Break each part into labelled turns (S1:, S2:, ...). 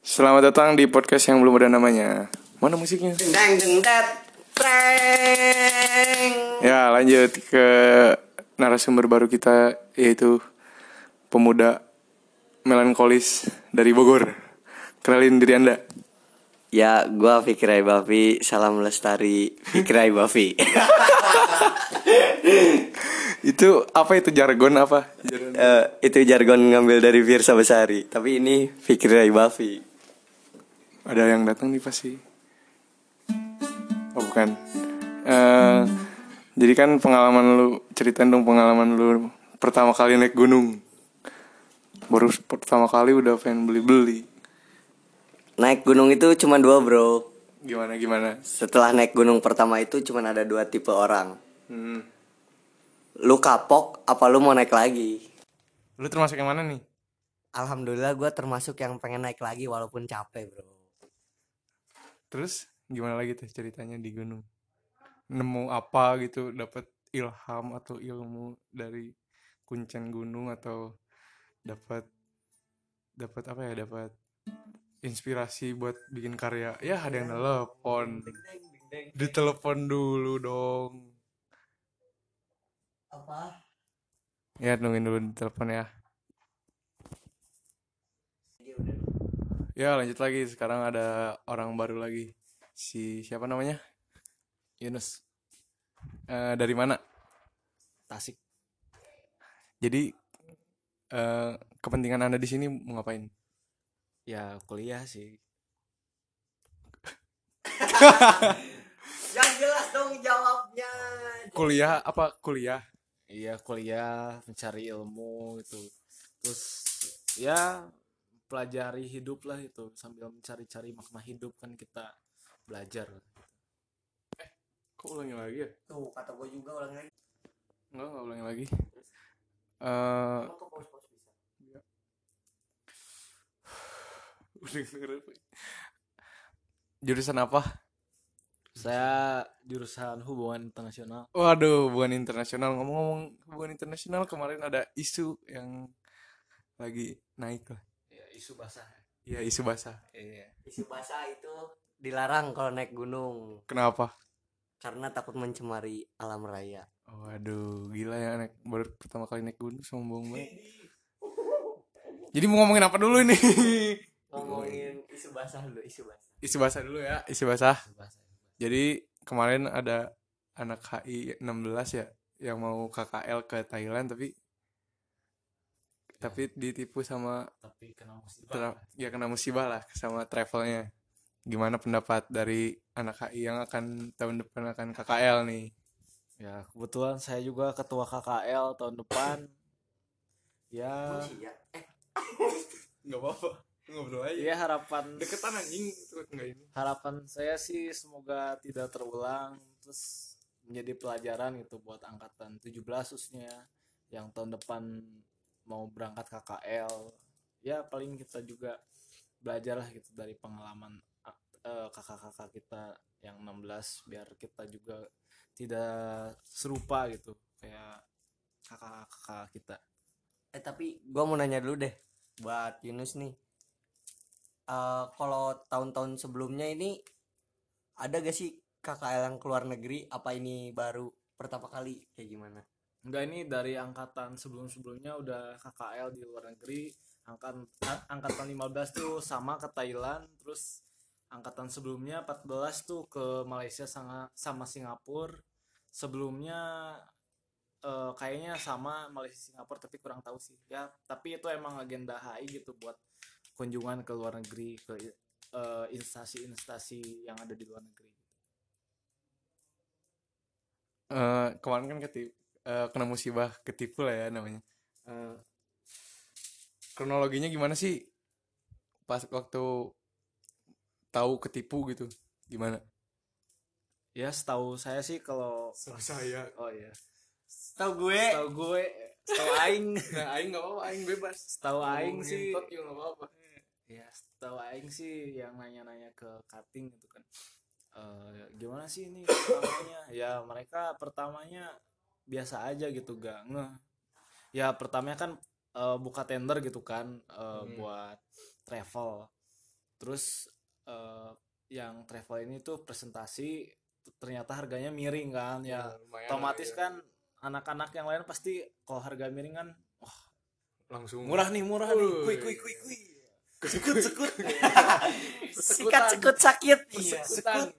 S1: Selamat datang di podcast yang belum ada namanya. Mana musiknya?
S2: Dang deng dat preng.
S1: Ya, lanjut ke narasumber baru kita yaitu pemuda melankolis dari Bogor. Kenalin diri Anda.
S3: Ya, gua Fikri Bafi, salam lestari Fikri Bafi.
S1: Itu apa itu jargon apa?
S3: Eh, itu jargon ngambil dari Virsa Besari, tapi ini Fikri Bafi.
S1: Ada yang datang nih pasti. Oh, bukan. Eh, jadi kan pengalaman lu ceritain dong pengalaman lu pertama kali naik gunung. Baru pertama kali udah pengen beli-beli.
S3: Naik gunung itu cuma dua, Bro.
S1: Gimana gimana?
S3: Setelah naik gunung pertama itu cuma ada dua tipe orang.
S1: Hmm.
S3: Lu kapok apa lu mau naik lagi?
S1: Lu termasuk yang mana nih?
S3: Alhamdulillah gua termasuk yang pengen naik lagi walaupun capek, Bro.
S1: Terus gimana lagi tuh ceritanya di gunung? Nemu apa gitu, dapat ilham atau ilmu dari kuncen gunung atau dapat dapat apa ya, dapat inspirasi buat bikin karya. Ya ada yang telepon. Ditelepon dulu dong.
S3: Apa?
S1: Ya nungguin dulu telepon ya. Ya lanjut lagi sekarang ada orang baru lagi si siapa namanya Yunus Eh, dari mana
S3: Tasik.
S1: jadi eh, kepentingan anda di sini mau ngapain
S4: ya kuliah sih
S3: Yang jelas dong jawabnya.
S1: kuliah apa kuliah
S4: iya kuliah mencari ilmu gitu terus ya pelajari hidup lah itu sambil mencari-cari makna hidup kan kita belajar
S1: kok ulangi lagi ya
S3: Tuh, kata gua juga ulang lagi.
S1: enggak enggak ulangi lagi Eh,
S3: Emang kok pos-pos bisa?
S1: udah ngerti. jurusan apa
S4: saya jurusan hubungan internasional
S1: Waduh, hubungan internasional. Ngomong-ngomong hubungan internasional, kemarin ada isu yang lagi naik lah.
S4: ya, isu basah
S1: Ya, isu basah.
S4: iya
S3: Isu basah itu dilarang kalau naik gunung.
S1: Kenapa?
S3: karena takut mencemari alam raya.
S1: Waduh, gila ya naik baru pertama kali naik gunung sombong banget. Jadi mau ngomongin apa dulu ini?
S3: Ngomongin isu basah dulu, isu basah.
S1: isu basah dulu ya, isu basah.
S4: isu basah
S1: Jadi kemarin ada anak HI 16 ya yang mau KKL ke Thailand tapi
S4: Iya.
S1: tapi ditipu sama
S4: tapi kena musibah
S1: Tra- ya kena musibah lah sama travelnya gimana pendapat dari anak HI yang akan tahun depan akan KKL nih
S4: ya kebetulan saya juga ketua KKL tahun depan ya
S3: Iya. Eh,
S1: nggak apa-apa ngobrol
S4: ya harapan
S1: deketan anjing enggak ini
S4: harapan saya sih semoga tidak terulang terus menjadi pelajaran gitu buat angkatan 17 khususnya yang tahun depan mau berangkat KKL ya paling kita juga belajarlah gitu dari pengalaman eh, kakak-kakak kita yang 16 biar kita juga tidak serupa gitu kayak kakak-kakak kita
S3: eh, tapi gua mau nanya dulu deh buat Yunus nih. Eh kalau tahun-tahun sebelumnya ini ada gak sih KKL yang keluar negeri? Apa ini baru pertama kali kayak gimana?
S4: Enggak ini dari angkatan sebelum-sebelumnya udah KKL di luar negeri. Angkatan a- angkatan 15 tuh sama ke Thailand, terus angkatan sebelumnya 14 tuh ke Malaysia sama sama Singapura. Sebelumnya eh, kayaknya sama Malaysia Singapura tapi kurang tahu sih ya. Tapi itu emang agenda HI gitu buat kunjungan ke luar negeri ke eh, instasi-instasi yang ada di luar negeri.
S1: Eh, kemarin kan ketip eh, kena musibah ketipu lah ya namanya Eh, kronologinya gimana sih pas waktu tahu ketipu gitu gimana
S4: Ya setahu saya sih kalau
S1: saya
S4: oh iya.
S3: Tahu gue.
S4: Setahu gue, setahu aing
S1: nah aing nggak apa-apa aing bebas
S4: Setahu aing sih,
S1: Ngentot juga nggak apa-apa
S4: ya setahu aing sih yang nanya-nanya ke cutting gitu kan. Eh, gimana sih ini pertamanya? ya mereka pertamanya biasa aja gitu gak ngeh. Ya pertamanya kan eh, buka tender gitu kan eh,
S1: Hmm.
S4: buat travel. terus eh, yang travel ini tuh presentasi ternyata harganya miring kan ya
S1: lumayan lah
S4: otomatis
S1: ya.
S4: kan anak-anak yang lain pasti kalau harga miring kan wah
S1: langsung
S4: murah nih murah nih kui
S1: Woi.
S4: kui kui kui sekut sekut
S3: sikat sekut sakit
S4: iya
S3: sekut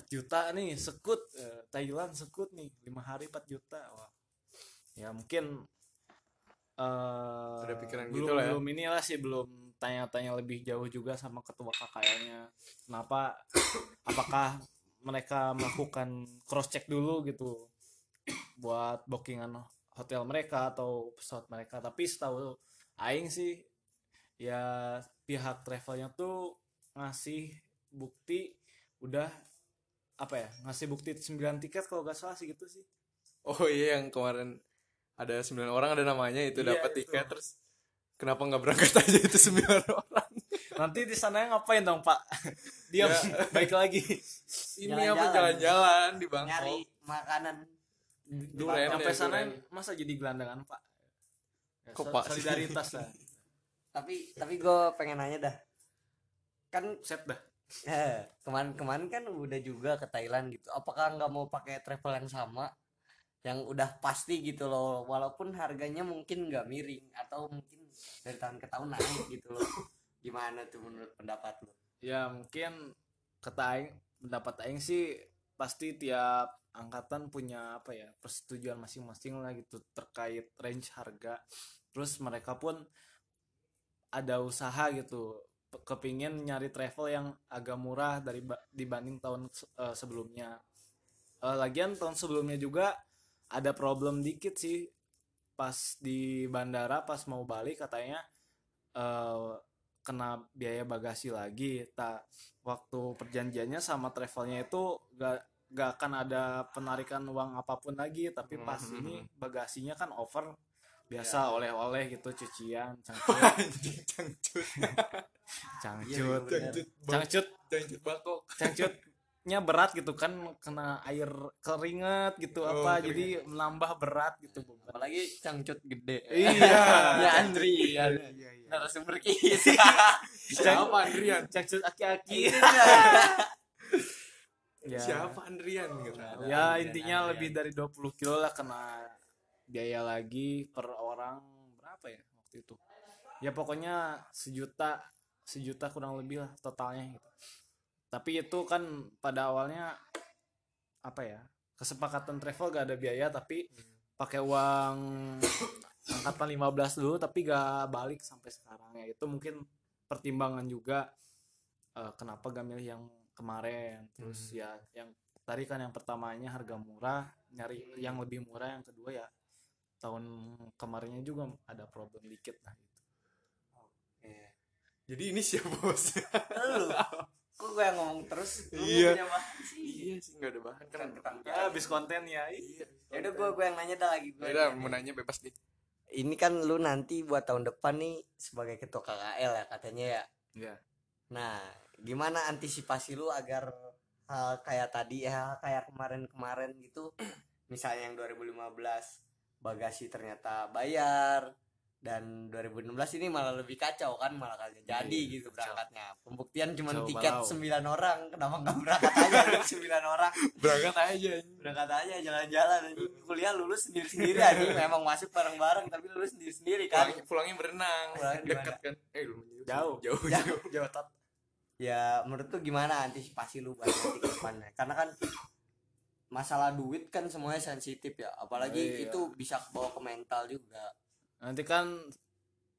S4: 4, juta nih sekut Eh, Thailand sekut nih lima hari 4 juta wah ya mungkin eh
S1: Ada pikiran
S4: belum,
S1: gitu lah ya.
S4: belum inilah sih belum tanya-tanya lebih jauh juga sama ketua KKN-nya kenapa apakah mereka melakukan cross check dulu gitu buat bookingan hotel mereka atau pesawat mereka tapi setahu aing sih ya pihak travelnya tuh ngasih bukti udah apa ya ngasih bukti 9 tiket kalau gak salah sih gitu sih
S1: oh iya yang kemarin ada sembilan orang ada namanya itu
S4: Iya,
S1: dapat
S4: itu.
S1: tiket terus kenapa nggak berangkat aja itu sembilan orang
S4: nanti di sana ngapain dong pak diam
S1: Ya.
S4: baik lagi
S1: ini apa
S3: Jalan-jalan.
S1: jalan-jalan di Bangkok
S4: Iya,
S3: nyari makanan
S1: Duren
S4: sampai
S1: deh,
S4: sana
S1: duren.
S4: masa jadi gelandangan pak Ya,
S1: Kok,
S4: so-
S1: Pak?
S4: solidaritas lah
S3: tapi tapi gue pengen nanya dah kan
S4: set dah
S3: eh, kemarin-kemarin kan udah juga ke Thailand gitu apakah nggak mau pakai travel yang sama yang udah pasti gitu loh walaupun harganya mungkin nggak miring atau mungkin dari tahun ke tahun naik gitu loh gimana tuh menurut pendapat lo
S4: ya mungkin kata aing pendapat aing sih pasti tiap angkatan punya apa ya persetujuan masing-masing lah gitu terkait range harga terus mereka pun ada usaha gitu pe- kepingin nyari travel yang agak murah dari ba- dibanding tahun se- eh, sebelumnya Eh, lagian tahun sebelumnya juga ada problem dikit sih pas di bandara pas mau balik katanya eh, kena biaya bagasi lagi. Tak waktu perjanjiannya sama travelnya itu gak gak akan ada penarikan uang apapun lagi. Tapi pas
S1: Mhm.
S4: ini bagasinya kan over biasa oleh-oleh gitu cucian, cangcut,
S1: anjing cangcut
S4: cangcut,
S3: Iya, iya,
S1: cangcut Bang-
S4: cangcut,
S1: cangcut Bangkok
S4: cangcutnya berat gitu kan kena air keringet gitu
S1: Oh,
S4: apa jadi menambah berat gitu beban.
S3: apalagi cangcut gede
S4: Iya.
S3: ya Andri ya
S1: iya iya
S3: narasumber kis
S1: siapa Andrian
S4: Cangcut aki-aki.
S1: Iya.
S4: Ya.
S1: siapa Andrian gitu
S4: ya intinya lebih dari 20 kilo lah kena biaya lagi per orang berapa ya waktu itu ya pokoknya sejuta sejuta kurang lebih lah totalnya gitu tapi itu kan pada awalnya apa ya kesepakatan travel gak ada biaya tapi
S3: Hmm.
S4: pakai uang angkatan 15 dulu tapi gak balik sampai sekarang ya itu mungkin pertimbangan juga eh, kenapa gak milih yang kemarin terus
S1: Hmm.
S4: ya yang tadi kan yang pertamanya harga murah nyari
S3: Hmm.
S4: yang lebih murah yang kedua ya tahun kemarinnya juga ada problem dikit lah gitu.
S1: jadi ini siapa bos
S3: lu kok gue yang ngomong terus Lu
S1: Iya.
S3: punya bahan sih.
S1: iya sih nggak ada bahan kan
S3: Ketangkap.
S4: ya habis konten ya
S1: iya
S3: ya udah gue gue yang nanya dah lagi gue
S1: Ya udah mau nanya bebas nih
S3: ini kan lu nanti buat tahun depan nih sebagai ketua KKL ya katanya ya
S4: Iya.
S3: nah gimana antisipasi lu agar hal kayak tadi ya kayak kemarin-kemarin gitu misalnya yang 2015 bagasi ternyata bayar dan 2016 ini malah lebih kacau kan malah kagak jadi
S4: Iya,
S3: gitu berangkatnya pembuktian cuma
S4: Kacau
S3: tiket 9
S4: balau.
S3: orang kenapa nggak berangkat aja dengan 9 orang
S1: berangkat aja
S3: udah katanya jalan-jalan anjing. kuliah lulus sendiri-sendiri anjing memang masuk bareng-bareng tapi lulus sendiri-sendiri kan
S1: pulangnya, pulangnya berenang
S3: Pulangnya di
S1: dekat kan eh lumayan
S4: Jauh.
S1: jauh
S3: Ya,
S1: jauh
S4: jauh tat
S3: ya menurut tuh gimana antisipasi lu buat nanti ke depannya karena kan masalah duit kan semuanya sensitif ya apalagi
S4: Iya.
S3: itu bisa bawa ke mental juga
S4: nanti kan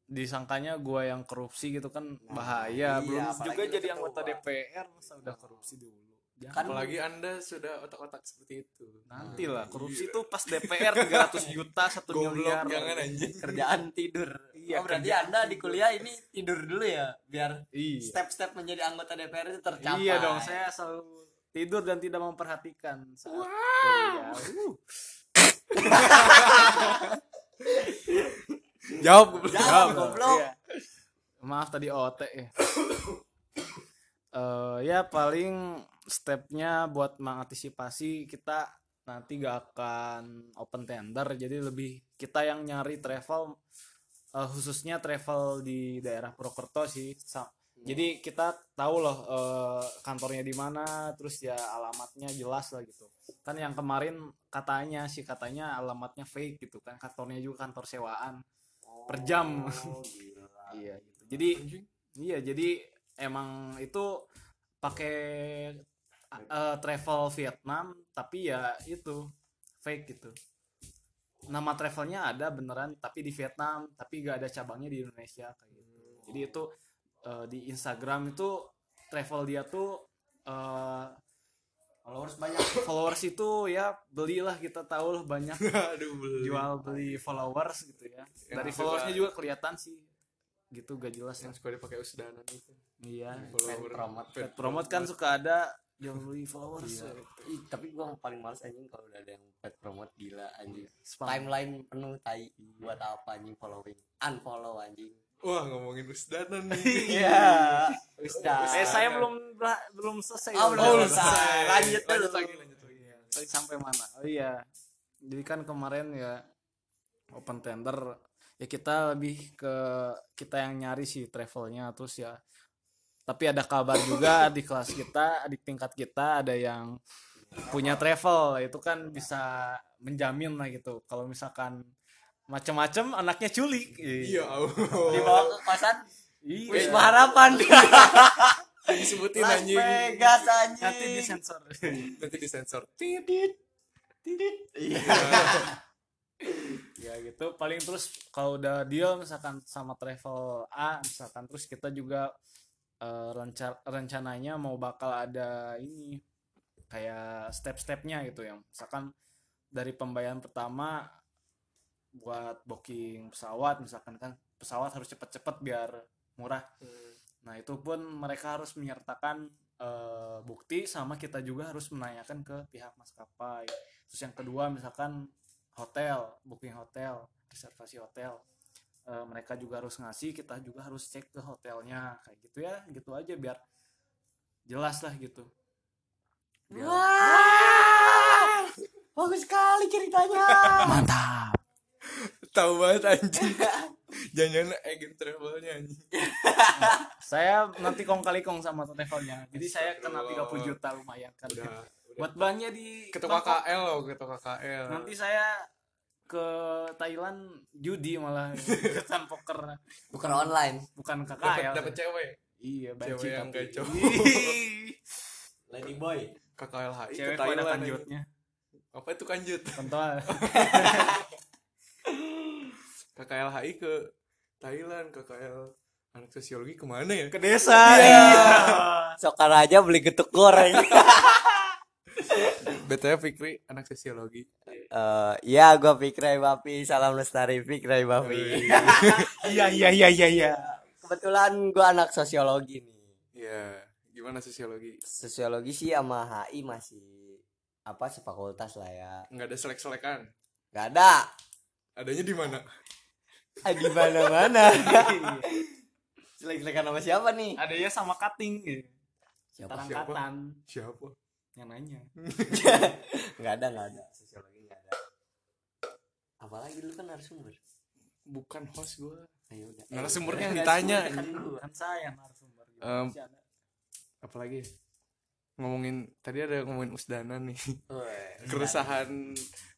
S4: disangkanya gua yang korupsi gitu kan
S3: Nah,
S4: bahaya
S3: iya,
S4: belum
S3: apalagi
S4: juga
S3: lu
S4: jadi
S3: ketua.
S4: anggota DPR masa udah korupsi dulu
S3: Kan-
S1: apalagi anda sudah otak-otak seperti itu
S4: nanti lah korupsi
S1: Iya.
S4: tuh pas DPR 300 juta satu miliar
S1: goblok jangan ya. anjing
S3: kerjaan tidur
S4: Iya,
S3: oh berarti
S4: kerjaan
S3: anda di kuliah ini tidur dulu ya biar
S4: iya
S3: step-step menjadi anggota DPR itu tercapai
S4: iya dong saya selalu tidur dan tidak memperhatikan saat kuliah. Uh,
S1: jawab
S3: Jawab, goblok.
S4: Iya. Maaf tadi OT ya. Eh, ya paling stepnya buat mengantisipasi kita nanti gak akan open tender jadi lebih kita yang nyari travel eh, khususnya travel di daerah Purwokerto sih sa- Jadi kita tahu loh eh, kantornya di mana, terus ya alamatnya jelas lah gitu. Kan yang kemarin katanya sih katanya alamatnya fake gitu kan, kantornya juga kantor sewaan per jam.
S3: Oh,
S4: Iya gitu. Jadi iya jadi emang itu pakai eh, travel Vietnam tapi ya itu fake gitu. Nama travelnya ada beneran tapi di Vietnam tapi gak ada cabangnya di Indonesia kayak gitu. Jadi itu eh, di Instagram itu travel dia tuh eh,
S3: Followers banyak.
S4: followers itu ya belilah kita tahu lah banyak
S1: Aduh, beli.
S4: jual beli followers gitu ya
S1: Yang
S4: dari
S1: suka-
S4: followersnya juga kelihatan sih gitu gak jelas
S1: yang
S4: lah
S1: suka dipakai usdanan itu.
S4: iya
S1: Iya. Follower.
S3: promote.
S1: Pet
S4: Pet promote kan suka ada jual beli followers
S3: Iya. Ih, tapi gua paling males anjing kalau udah ada yang pet promote gila anjing.
S4: Spam.
S3: Timeline penuh tai buat apa anjing following. Unfollow anjing.
S1: Wah, ngomongin usdanan nih.
S3: Iya. Ustaz.
S4: eh saya belum bela- belum selesai
S3: Oh, belum
S4: Udah
S3: selesai. Lanjut dulu.
S1: lagi, lanjut lagi.
S4: Tadi sampai mana oh iya jadi kan kemarin ya open tender ya kita lebih ke kita yang nyari sih travelnya terus ya tapi ada kabar juga di kelas kita di tingkat kita ada yang punya travel itu kan bisa menjamin lah gitu kalau misalkan macam-macam anaknya culik
S1: Iya, Allah.
S3: Dibawa ke kosan
S4: Iya.
S3: Wisma Harapan.
S1: disebutin
S3: Las
S1: anjing.
S3: Vegas
S4: nanti
S3: anjing.
S4: disensor
S1: Nanti disensor. Tidit.
S4: ya gitu paling terus kalau udah deal misalkan sama travel A misalkan terus kita juga eh, renca- rencananya mau bakal ada ini kayak step-stepnya gitu ya misalkan dari pembayaran pertama buat booking pesawat misalkan kan pesawat harus cepet-cepet biar murah nah itu pun mereka harus menyertakan eh, bukti sama kita juga harus menanyakan ke pihak maskapai terus yang kedua misalkan hotel, booking hotel, reservasi hotel. Eh, mereka juga harus ngasih, kita juga harus cek ke hotelnya kayak gitu ya, gitu aja biar jelas lah gitu. Biar-
S3: Wah. Ah! Bagus sekali ceritanya.
S4: Mantap.
S1: Tahu banget anjing. Jangan agen travelnya anjing.
S4: Saya nanti kong kali kong sama travelnya. Jadi saya kena
S1: Astagfirullah.
S4: 30 juta lumayan kan.
S1: Udah. udah.
S4: Buat bannya di
S1: Ketua
S4: Bangkok.
S1: KL loh, ketua KL.
S4: Nanti saya ke Thailand judi malah ikutan poker
S3: Bukan online.
S4: bukan
S1: dapat
S4: KKL.
S1: dapat cewek.
S4: Iya, banci
S1: Cewek yang
S4: tapi.
S1: gak cowok.
S4: Ih,
S3: Lady boy.
S1: KKLHI ke
S4: Cewek pada
S1: Thailand. anjing.
S4: kanjutnya.
S1: Apa itu kanjut?
S4: Kontol.
S1: KKLHI ke Thailand, KKL anak sosiologi kemana ya?
S4: ke desa
S3: Sokaraja beli getuk goreng.
S1: BTW Fikri anak sosiologi.
S3: Eh, ya gua Fikri Bapi, salam lestari Fikri
S1: Oh,
S3: Bapi.
S4: iya iya iya iya iya
S3: Kebetulan gua anak sosiologi nih.
S1: Iya, gimana sosiologi?
S3: Sosiologi sih sama HI masih apa sefakultas lah ya.
S1: Nggak ada selek-selekan.
S3: Gak ada.
S1: Adanya di mana?
S3: Ah, Di mana-mana. Jelek-jelekan sama siapa nih?
S4: adanya sama cutting gitu.
S3: Siapa?
S4: Tarang
S1: siapa?
S4: katan
S1: Siapa?
S4: yang nanya
S3: Gak ada, gak ada. Sosiologi gak ada. Apalagi lu kan narasumber.
S1: Bukan host gua.
S3: Ayo udah. Eh,
S1: Narasumbernya yang
S3: udah,
S1: ditanya.
S3: narasumber kan gua.
S4: kan saya yang narasumber gitu.
S1: Em.
S4: Si Ana.
S1: Apalagi ya? ngomongin tadi ada ngomongin usdanan nih.
S3: Weh,
S1: Keresahan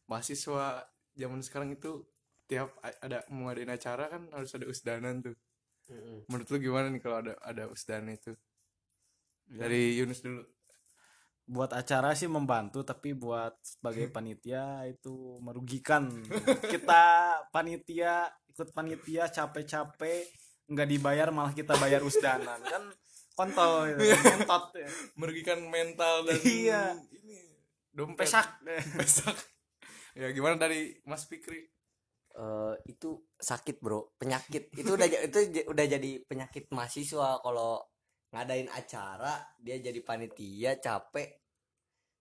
S1: mahasiswa zaman sekarang itu tiap a- ada mau ngadain acara kan harus ada usdanan tuh.
S3: Mm-mm.
S1: Menurut lu gimana nih kalau ada ada usdanan itu?
S3: Ya.
S1: Dari Yunus dulu.
S4: buat acara sih membantu tapi buat sebagai panitia itu merugikan kita panitia ikut panitia capek-capek nggak dibayar malah kita bayar usdanan kan kontol gitu, ngentot ya.
S1: Merugikan mental dan
S4: Iya.
S1: ini dompet.
S4: pesak
S1: Pesak. ya gimana dari Mas Fikri?
S3: Eh, itu sakit bro penyakit itu udah ja- itu ja- udah jadi penyakit mahasiswa kalau ngadain acara dia jadi panitia capek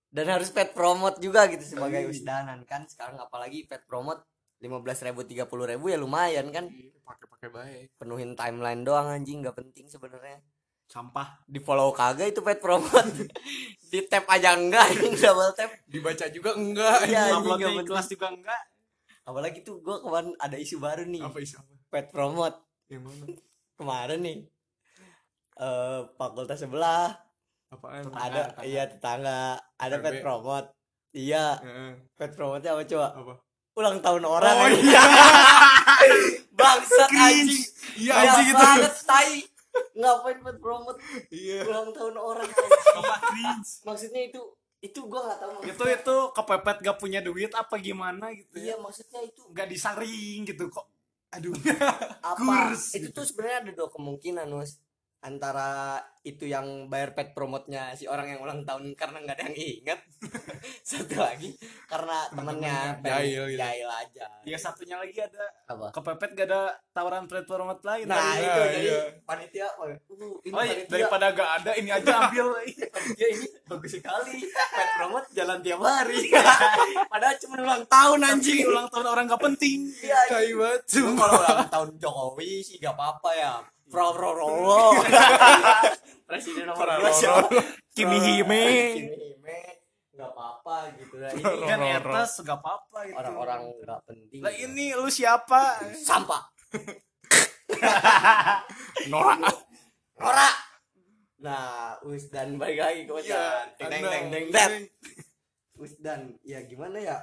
S3: dan harus pet promote juga gitu
S1: Iya.
S3: sebagai usdanan kan sekarang apalagi pet promote 15.000 ribu ya lumayan kan
S1: Pakai-pakai baik.
S3: penuhin timeline doang anjing nggak penting sebenarnya
S4: sampah
S3: di follow kagak itu pet promote di tap aja enggak anjing double tap
S1: Dibaca juga enggak?
S3: Iya, anjing,
S4: upload
S3: nggak
S4: di
S3: penting.
S4: kelas juga enggak
S3: apalagi tuh gua kemarin ada isu baru nih
S1: Apa isi apa?
S3: pet promote
S1: Yang mana?
S3: kemarin nih eh, fakultas sebelah
S1: Apaan?
S4: Tetangga,
S3: ada
S4: tetangga.
S3: iya tetangga ada
S1: FB.
S3: pet promote iya
S1: Heeh,
S3: pet promote apa coba
S1: apa?
S3: ulang tahun orang
S1: Oh,
S3: anjing. bangsat anjing
S1: Iya
S3: Gila
S1: anjing itu.
S3: banget tai ngapain pet promote
S1: Iya.
S3: ulang tahun orang anjing.
S4: Bapak cringe.
S3: maksudnya itu itu gua nggak tahu
S4: itu itu kepepet gak punya duit apa gimana gitu
S3: iya
S4: ya
S3: maksudnya itu
S4: nggak disaring gitu kok aduh
S3: apa
S4: Kurs,
S3: itu
S1: gitu.
S3: tuh sebenarnya ada dua kemungkinan Nus antara itu yang bayar pet promote-nya si orang yang ulang tahun karena nggak ada yang inget satu lagi karena
S1: Temen-temennya
S3: temennya pengen
S1: jahil gitu.
S3: jahil aja
S4: ya satunya lagi ada
S3: apa
S4: kepepet gak ada tawaran pet promote lain
S3: nah
S1: Nah,
S3: itu jadi
S1: iya.
S3: panitia uh, ini Iya.
S4: oh, iya,
S3: panitia
S4: daripada gak ada ini aja ambil
S3: panitia ini bagus sekali pet promote jalan tiap hari padahal cuma ulang tahun anjing
S4: anjing ulang tahun orang gak penting
S3: Iya,
S1: Tai banget.
S3: Lu kalau ulang tahun Jokowi sih gak apa-apa ya.
S4: Iya.
S3: Pro pro pro pro. Presiden nomor
S1: Pro- pro-
S3: dua siapa?
S4: Kimi Hime
S3: Kimihime gak apa-apa gitu lah. Ini
S1: Pro-
S4: kan
S1: Roro.
S4: etas gak apa-apa gitu
S3: orang-orang Iya. gak penting. gitu.
S4: lah ini lu siapa
S3: sampah.
S1: Norak.
S3: Ora. Nah, Usdan balik lagi
S4: Iya,
S3: ke Usdan. Iya.
S1: Iya.
S3: Deng deng deng deng deng. Usdan, ya gimana ya?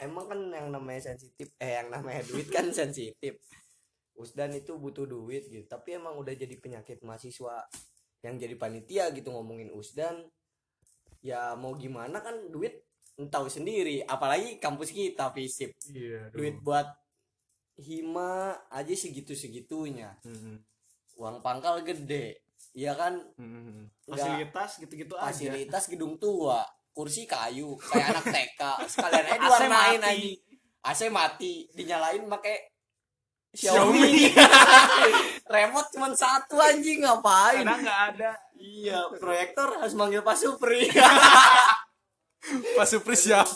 S3: Emang kan yang namanya sensitif, eh yang namanya duit kan sensitif. Usdan itu butuh duit gitu, tapi emang udah jadi penyakit mahasiswa yang jadi panitia gitu ngomongin Usdan. Ya mau gimana kan duit tahu sendiri, apalagi kampus kita fisip.
S1: Iya.
S3: Duit buat hima aja segitu-segitunya. Uang pangkal gede. Iya kan? Nggak-
S4: fasilitas gitu-gitu aja
S3: fasilitas gedung tua kursi kayu kayak anak TK sekalian aja
S4: AC
S3: diwarnain
S4: mati.
S3: aja AC mati dinyalain pakai
S4: Xiaomi.
S3: Xiaomi remote cuman satu anjing ngapain
S4: karena nggak ada
S3: iya proyektor harus manggil Pak Supri
S1: Pas Supri siapa?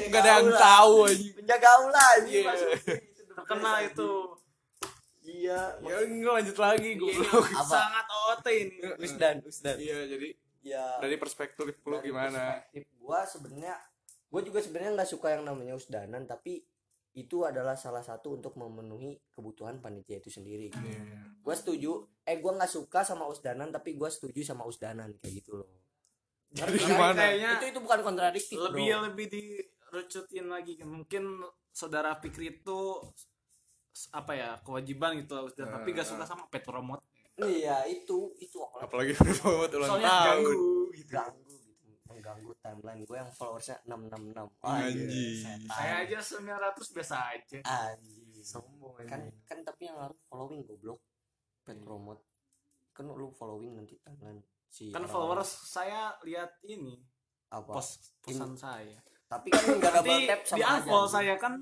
S1: Enggak ada yang
S3: Penjaga aula.
S1: tahu anjing.
S3: penjaga aula anjing Pak
S1: Iya.
S3: Supri.
S4: terkena itu
S3: iya
S1: Ya enggak lanjut lagi goblok.
S4: Ini
S3: Apa?
S4: sangat OT ini
S3: Usdan Usdan
S1: Iya, jadi
S3: iya
S1: dari perspektif lu
S3: Dari
S1: gimana?
S3: perspektif gua sebenarnya gua juga sebenarnya nggak suka yang namanya usdanan tapi itu adalah salah satu untuk memenuhi kebutuhan panitia itu sendiri
S4: Iya.
S3: gua setuju eh gua nggak suka sama usdanan tapi gua setuju sama usdanan kayak gitu loh
S1: Jadi
S4: Karena
S1: gimana?
S4: kayaknya
S3: itu itu bukan kontradiktif
S4: lebih
S3: bro.
S4: lebih dirucutin lagi mungkin saudara Fikri itu s- apa ya kewajiban gitu lah Ustaz. tapi gak suka sama pet promote
S3: iya itu itu awalnya
S1: Apalagi buat ulang
S4: soalnya
S1: tahun.
S4: ganggu gitu
S3: ganggu gitu mengganggu timeline gue yang followersnya 666
S1: Anjing.
S4: saya aja 900 biasa aja
S3: anjing
S1: Sombong
S3: kan kan tapi yang harus following goblok pet
S4: Iya.
S3: promote kan lu following nanti tangan si
S4: kan
S3: orang-orang
S4: followers saya lihat ini
S3: apa
S4: post pesan saya
S3: tapi kan nggak double
S4: nanti
S3: tap sama
S4: di unfollow
S3: aja.
S4: saya kan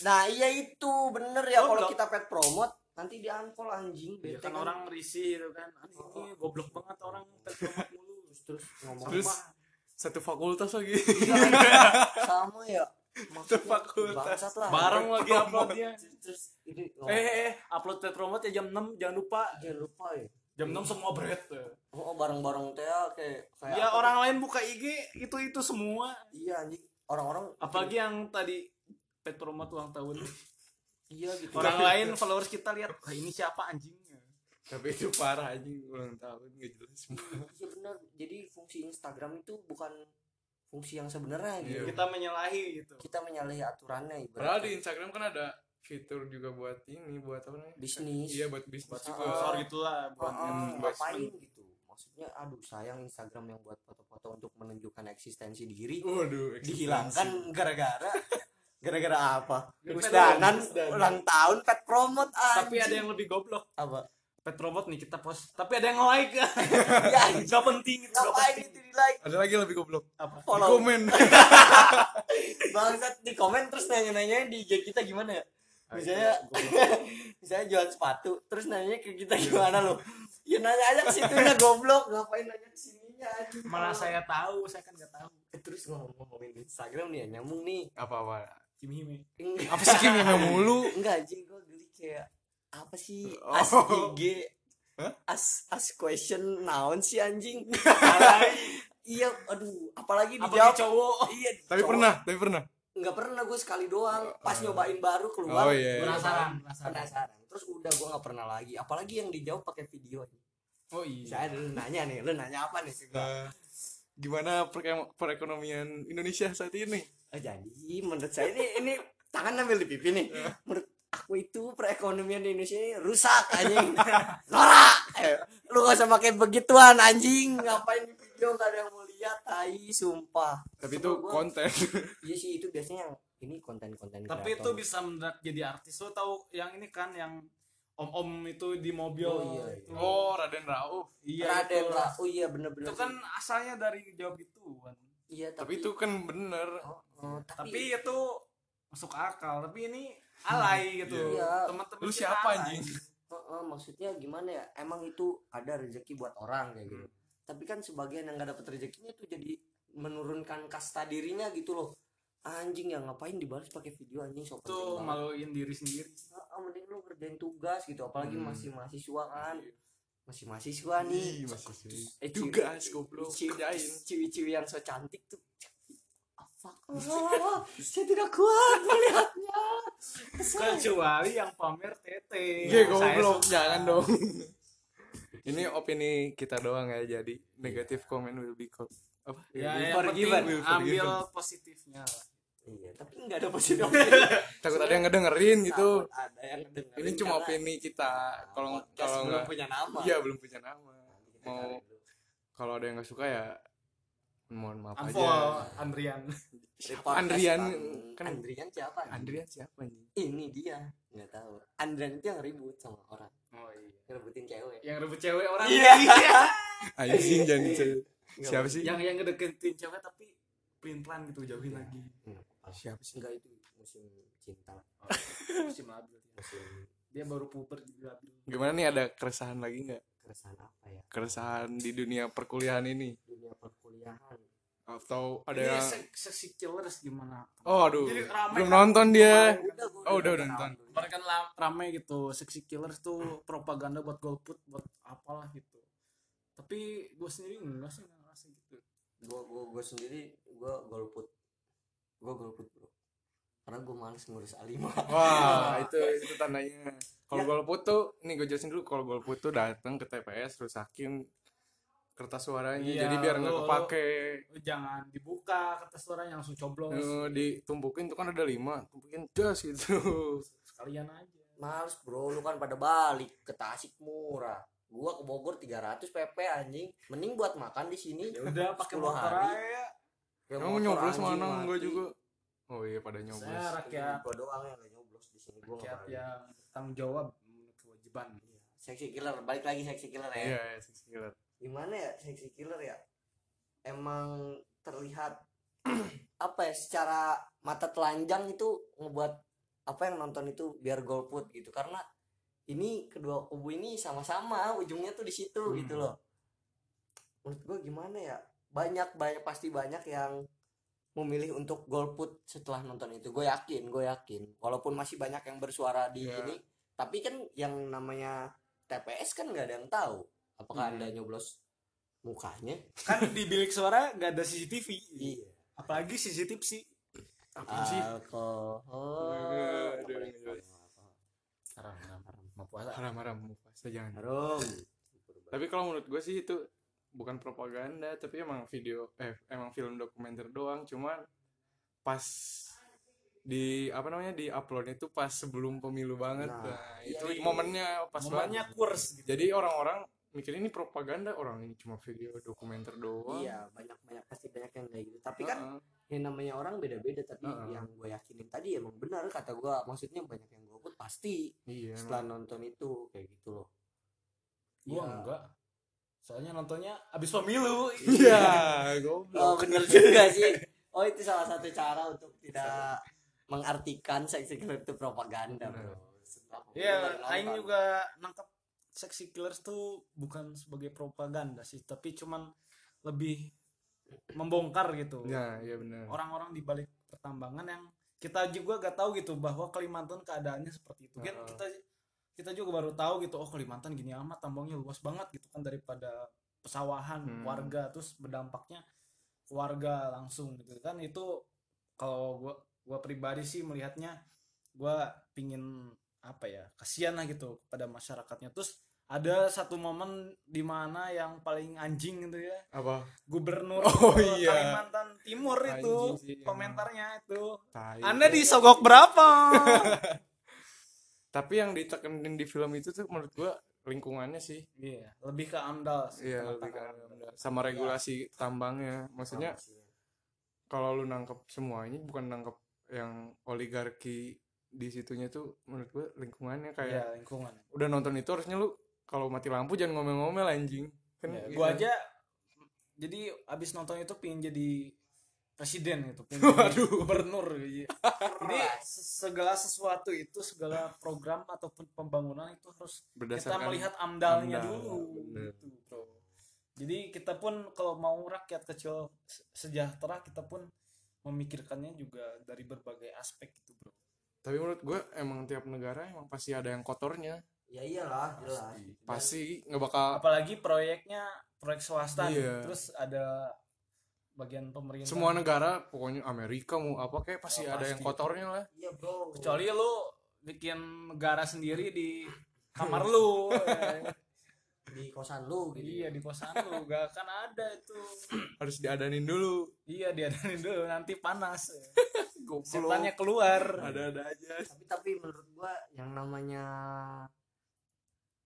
S3: nah iya itu bener ya kalau
S4: Goblok.
S3: kita pet promote nanti di unfollow anjing
S4: ya
S3: bete
S4: kan orang risih gitu kan "Ah, ini goblok banget orang pet promote mulu
S3: terus, terus ngomong
S1: Terus
S3: "Wah,
S1: satu fakultas lagi.
S3: iya, sama ya maksudnya
S1: Fakultas.
S3: bangsat lah
S4: bareng lagi uploadnya
S3: terus, terus ini
S4: eh,
S3: ngomong,
S4: eh, eh, upload pet promote ya jam 6 jangan lupa
S3: jangan lupa ya
S4: jam 6 semua bread tuh.
S3: oh oh, bareng-bareng teh ya, kayak kayak
S4: ya
S3: apa
S4: orang lain buka IG itu itu semua
S3: tuh? iya anjing orang-orang
S4: apalagi yang tadi pet promote ulang tahun
S3: iya gitu
S4: orang lain followers kita lihat "Wah, ini siapa anjingnya
S1: Tapi itu parah anjing ulang tahun enggak jelas.
S3: Iya benar. Jadi fungsi Instagram itu bukan fungsi yang sebenarnya gitu.
S1: Iya.
S4: kita menyalahi gitu
S3: Kita menyalahi aturannya
S1: Padahal
S3: ibaratnya.
S1: di Instagram kan ada fitur juga buat ini, buat apa namanya?
S3: Bisnis.
S1: Iya, buat bisnis
S3: Buat
S1: juga.
S3: sponsor
S4: sensor gitulah
S3: Ah,
S4: buat
S3: ah,
S1: yang
S3: ngapain gitu. Maksudnya aduh sayang Instagram yang buat foto-foto untuk menunjukkan eksistensi diri
S1: Waduh, eksistensi.
S3: dihilangkan gara-gara gara-gara apa?
S4: Gara-gara
S3: Usdanan
S4: Usdanan.
S3: ulang tahun pet promote anjing.
S4: tapi ada yang lebih goblok
S3: apa?
S4: pet promote nih kita post tapi ada yang like
S3: ya anjing.
S4: gak penting itu gak
S3: ngapain
S4: penting
S3: itu di like
S1: Ada lagi yang lebih goblok.
S4: apa
S1: Di
S3: follow
S1: komen.
S3: bangsat di komen terus nanya-nanya di IG kita gimana ya?
S4: Ah,
S3: Misalnya misalnya jualan sepatu terus nanya ke kita gimana lo ya nanya aja ke situnya goblok ngapain nanya ke sininya anjing.
S4: mana saya tahu saya kan gak tahu
S3: Eh, terus ngomong-ngomongin Instagram nih ya nyambung nih
S1: Apa-apa.
S4: Kimi Hime
S3: enggak
S1: Apa sih Kim yang mulu?
S3: enggak anjing gue geli kayak apa sih
S1: Oh.
S3: as IG
S1: Hah?
S3: as as question naon sih anjing iya aduh apalagi
S4: apa
S3: dijawab
S4: cowok
S3: iya
S1: Tapi
S3: cowok.
S1: pernah, tapi pernah.
S3: nggak pernah gue sekali doang pas nyobain baru keluar
S1: Oh, iya.
S3: gua
S4: Penasaran,
S3: nyobain. penasaran terus udah gue nggak pernah lagi apalagi yang dijawab pakai video
S1: Oh iya.
S3: Saya dulu nanya nih, lu nanya apa nih?
S1: Eh, gimana perke- perekonomian Indonesia saat ini?
S3: Oh, jadi menurut saya ini ini tangan ambil di pipi nih. Menurut aku itu perekonomian di Indonesia ini rusak anjing. Norak. Eh, Lu gak usah pakai begituan anjing. Ngapain di video gak ada yang mau lihat tai sumpah.
S1: Tapi
S3: Coba
S1: itu
S3: gua-
S1: konten.
S3: Iya sih itu biasanya yang ini konten-konten
S4: tapi itu bisa mendadak jadi artis lo tahu yang ini kan yang om-om itu di mobil
S3: Oh, iya, iya.
S4: Itu.
S1: Oh, Raden Rauf.
S4: iya
S3: Iya, Raden
S4: itu.
S3: lah. Oh iya bener-bener.
S4: itu kan asalnya dari jawab gituan
S3: iya
S1: Tapi itu kan bener.
S3: Oh, oh, tapi,
S4: tapi itu masuk akal tapi ini alay gitu
S3: Iya.
S4: teman-teman
S1: Lu
S4: kita
S1: siapa
S4: alay.
S1: anjing?
S3: oh, oh, maksudnya gimana ya? Emang itu ada rezeki buat orang kayak
S1: Hmm.
S3: gitu. Tapi kan sebagian yang gak dapet rezekinya tuh jadi menurunkan kasta dirinya gitu loh. Anjing ya ngapain dibalas pakai video anjing sok
S4: itu
S3: penting banget.
S4: maluin diri sendiri
S3: Ah, ah, mending lu kerjain tugas gitu apalagi
S1: Hmm.
S3: masih mahasiswa kan. Masih mahasiswa nih.
S1: Ih, masih sih.
S3: Eh,
S1: Tugas goblok.
S3: ciwi-
S1: Kerjain.
S3: Ciwi-ciwi yang so cantik tuh. Apa?
S1: Iya.
S3: Oh, saya tidak kuat melihatnya. Kesel.
S4: kecuali yang pamer tete
S1: Gue
S4: Iya, Saya
S1: Iya, goblok,
S4: suka.
S1: jangan dong. Ini opini kita doang ya, jadi negative comment will be co- apa? Will
S4: ya,
S1: be-
S4: yang penting
S3: forgiven.
S1: Will
S4: ambil
S1: forgiven.
S4: positifnya lah.
S3: Iya, tapi nggak ada positif.
S1: Takut ada yang ngedengerin gitu.
S3: Takut Ada yang dengerin
S1: Ini cuma
S3: karena
S1: opini kita. Kalau
S3: podcast
S1: kalau
S3: belum
S1: nggak,
S3: punya nama.
S1: iya belum punya nama. Mau kalau ada yang nggak suka ya mohon maaf
S4: unfollow
S1: aja.
S4: Andrian
S3: Report
S1: Andrian
S3: Bang.
S1: kan-
S3: Andrian siapa?
S1: Andrian siapa nih?
S3: Ini dia. Nggak tahu. Andrian itu yang ribut sama orang,
S4: oh, iya.
S3: ngerebutin cewek.
S4: yang rebut cewek orang
S1: Iya. Anjing jangan dice-
S3: Nggak
S1: Siapa sih?
S4: yang yang ngedeketin cewek tapi pelin pelan gitu jauhin lagi
S1: Siapa sih?
S3: Enggak itu musim cinta,
S4: musim labil
S3: musim
S4: dia baru puber jadi labil
S1: Gimana nih ada keresahan lagi nggak?
S3: keresahan apa ya?
S1: Keresahan di dunia perkuliahan ini
S3: Dunia perkuliahan.
S1: atau ada
S4: ini
S1: yang
S4: Iya, se- seksi killers gimana
S1: Oh aduh,
S4: Jadi rame
S1: belum
S4: kan?
S1: nonton dia.
S4: Kemarin kan-
S1: Oh, udah, udah nonton.
S4: kemarin kan la- rame gitu seksi killers
S1: Hmm.
S4: tuh propaganda buat golput buat apalah gitu tapi gue sendiri enggak sih enggak ngerasa gitu
S3: Gua gua gua sendiri gua golput. Gua golput, Bro. Karena gua males ngurus A5.
S1: Wah, itu itu tandanya. Kalau golput tuh, nih gue jelasin dulu kalau golput tuh datang ke TPS rusakin kertas suaranya
S4: Iya,
S1: jadi biar nggak
S4: lo- lo-
S1: kepake.
S4: Lu jangan dibuka kertas suaranya langsung coblos
S1: Eh, ditumpukin tuh kan ada lima, tumpukin jos gitu.
S4: sekalian aja
S3: Males bro, lu kan pada balik ke Tasik murah. Gua ke Bogor 300 PP anjing. Mending buat makan di sini.
S4: ya udah pakai
S3: 10
S4: motor
S3: hari.
S4: aja
S3: Ya,
S1: Kamu
S3: motor
S1: nyoblos
S3: anjing
S1: mana?
S3: mati.
S1: Gue juga. Oh iya pada
S4: saya
S1: nyoblos.
S4: rakyat
S3: Gua doang yang gak nyoblos di sini. Gua
S4: rakyat
S3: nggak berani.
S4: yang ya, tanggung jawab menurut kewajiban
S3: Sexy killer, balik lagi sexy killer ya.
S1: Iya, iya, six killer.
S3: Gimana ya sexy killer ya? Emang terlihat apa ya secara mata telanjang itu ngebuat apa yang nonton itu biar golput gitu karena ini kedua kubu ini sama-sama ujungnya tuh di situ
S1: Hmm.
S3: gitu loh menurut gue gimana ya banyak banyak pasti banyak yang memilih untuk golput setelah nonton itu gue yakin gue yakin walaupun masih banyak yang bersuara di
S1: Iya.
S3: ini tapi kan yang namanya TPS kan nggak ada yang tahu apakah
S1: Hmm.
S3: anda nyoblos mukanya
S4: kan di bilik suara nggak ada CCTV
S3: iya
S4: apalagi CCTV sih
S1: Apa sih?
S3: alkohol
S1: Aduh,
S3: Apa
S1: aduh,
S3: nih?
S1: aduh.
S3: haram haram haram mau puasa
S1: Haram haram, puasa jangan.
S3: haram
S1: Tapi kalau menurut gue sih itu bukan propaganda, tapi emang video eh emang film dokumenter doang, cuman pas di apa namanya di uploadnya itu pas sebelum pemilu banget.
S3: Nah,
S1: Nah,
S3: iya,
S1: itu
S3: iya.
S1: momennya pas
S4: momennya
S1: banget.
S4: kurs gitu.
S1: Jadi orang-orang mikir ini propaganda, orang ini cuma video dokumenter doang. Ah,
S3: iya banyak banyak pasti banyak yang kayak gitu tapi
S1: Heeh.
S3: kan yang namanya orang beda-beda tapi
S1: Heeh.
S3: yang gue yakinin tadi emang benar kata gue maksudnya banyak yang gue pasti
S1: iya.
S3: setelah
S1: emang.
S3: nonton itu kayak gitu loh
S4: gua
S3: Iya.
S4: enggak soalnya nontonnya abis pemilu
S1: Iya, goblok.
S4: Iya.
S3: oh benar juga sih oh itu salah satu cara untuk tidak mengartikan seks killer itu propaganda bro Setelah
S4: Iya,
S3: nonton.
S4: Aing juga nangkep seksi killers tuh bukan sebagai propaganda sih, tapi cuman lebih membongkar gitu.
S1: Iya, iya benar.
S4: Orang-orang di balik pertambangan yang kita juga gak tahu gitu bahwa Kalimantan keadaannya seperti itu. Kan
S1: Heeh.
S4: kita kita juga baru tahu gitu, oh Kalimantan gini amat tambangnya luas banget gitu kan daripada pesawahan
S1: Hmm.
S4: warga terus berdampaknya ke warga langsung gitu kan itu kalau gua gua pribadi sih melihatnya gua pingin apa ya kasihan lah gitu kepada masyarakatnya terus ada satu momen di mana yang paling anjing gitu ya
S1: apa
S4: gubernur
S1: Oh,
S4: eh,
S1: iya.
S4: Kalimantan Timur itu
S1: Anjing sih, emang. Iya,
S4: komentarnya itu
S1: Tai.
S4: anda disogok berapa
S1: tapi yang ditekenin di film itu tuh menurut gua lingkungannya sih
S4: iya lebih ke amdal sih,
S1: Iya,
S4: kata
S1: lebih ke
S4: orang.
S1: sama regulasi tambangnya maksudnya kalau lu nangkep semuanya bukan nangkep yang oligarki di situnya tuh menurut gua lingkungannya
S4: iya
S1: kayak
S4: lingkungan
S1: udah nonton itu harusnya lu kalau mati lampu jangan ngomel-ngomel anjing kan
S4: Iya,
S1: gitu.
S4: gua aja jadi abis nonton itu pengen jadi presiden gitu pengen jadi gubernur gitu. jadi se- segala sesuatu itu segala program ataupun pembangunan itu harus kita
S1: Berdasarkan
S4: melihat amdalnya
S1: amdal,
S4: dulu
S1: bener.
S4: gitu bro jadi kita pun kalau mau rakyat kecil se- sejahtera kita pun memikirkannya juga dari berbagai aspek gitu bro
S1: tapi menurut gua emang tiap negara emang pasti ada yang kotornya
S4: Iya.
S3: ya iyalah jelas
S1: pasti nggak bakal
S4: apalagi proyeknya proyek swasta nih.
S1: Iya.
S4: terus ada bagian pemerintah
S1: semua negara pokoknya Amerika mau apa kayak pasti
S4: Ya,
S1: ada yang
S4: pasti.
S1: kotornya lah
S3: iya bro
S4: kecuali lu bikin negara sendiri di kamar lu eh.
S3: di kosan lu gitu
S4: iya di kosan lu gak akan ada itu
S1: harus diadanin dulu
S4: iya diadain dulu nanti panas eh.
S1: goblok
S4: setannya keluar
S1: ada-ada aja
S3: tapi tapi menurut gua yang namanya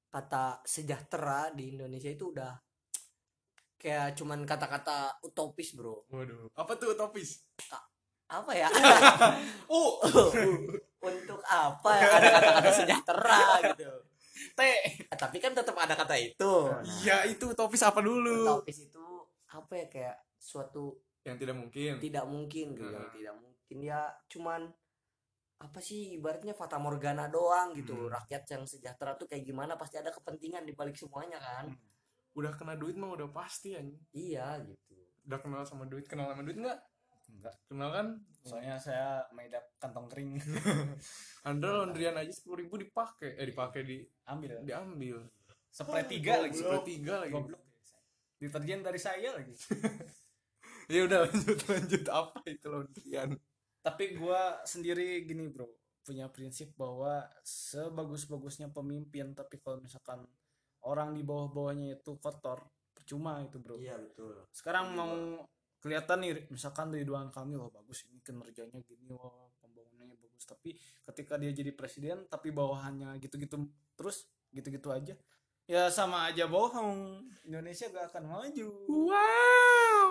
S3: kata sejahtera di Indonesia itu udah kayak cuman kata-kata utopis bro
S1: waduh apa tuh topis
S3: apa ya uh, untuk apa ya ada kata-kata sejahtera gitu
S4: teh
S3: Eh, tapi kan tetap ada kata itu
S1: iya itu topis apa dulu
S3: utopis itu apa ya kayak suatu
S1: yang tidak mungkin
S3: tidak mungkin gitu yang
S1: Heeh.
S3: tidak mungkin ya cuman apa sih ibaratnya fata morgana doang gitu
S1: Hmm.
S3: rakyat yang sejahtera tuh kayak gimana pasti ada kepentingan di balik semuanya kan
S1: udah kena duit mah udah pasti anjing
S3: iya gitu
S1: udah kenal sama duit kenal sama duit nggak
S4: enggak
S1: kenal kan
S4: soalnya saya maidap kantong kering
S1: anda laundryan aja sepuluh ribu dipakai eh dipakai di
S4: ambil
S1: diambil
S4: sepertiga Iya. lagi
S1: sepertiga lagi
S4: goblok ya, deterjen dari saya lagi
S1: ya udah lanjut lanjut apa itu laundryan
S4: tapi gua sendiri gini bro punya prinsip bahwa sebagus-bagusnya pemimpin tapi kalau misalkan orang di bawah-bawahnya itu kotor percuma itu bro
S3: iya betul
S4: sekarang mau kelihatan nih misalkan Ridwan Kamil loh bagus ini kinerjanya gini loh pembangunannya bagus tapi ketika dia jadi presiden tapi bawahannya gitu-gitu terus gitu-gitu aja ya sama aja bohong Indonesia gak akan maju
S1: wow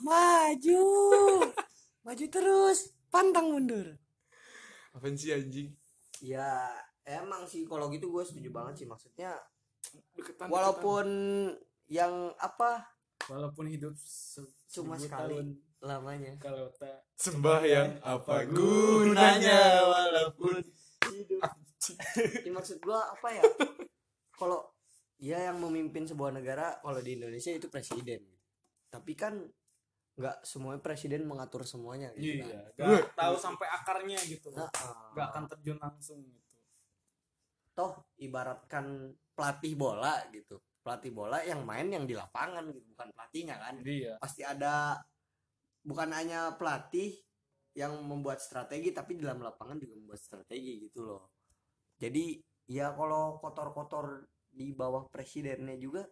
S3: maju maju terus pantang mundur
S1: apa sih anjing
S3: ya emang sih kalau gitu gue setuju banget sih maksudnya
S1: Deketan,
S3: walaupun yang apa
S4: walaupun hidup se-
S3: Cuma
S4: seribu
S3: sekali.
S4: tahun,
S3: lamanya
S4: kalau tak
S1: deketan. sembahyang apa
S3: gunanya
S1: gunanya walaupun
S3: Ya, maksud gua apa ya? Kalau dia yang memimpin sebuah negara, kalau di Indonesia itu presiden. Tapi kan nggak semuanya presiden mengatur semuanya gitu kan.
S4: Iya, gak tahu sampai akarnya gitu.
S3: Nah,
S4: Gak
S3: eh,
S4: akan terjun langsung gitu.
S3: toh ibaratkan pelatih bola gitu. Pelatih bola yang main yang di lapangan gitu, bukan pelatihnya kan.
S4: Iya.
S3: Pasti ada bukan hanya pelatih yang membuat strategi tapi di dalam lapangan juga membuat strategi gitu loh. Jadi ya kalau kotor-kotor di bawah presidennya juga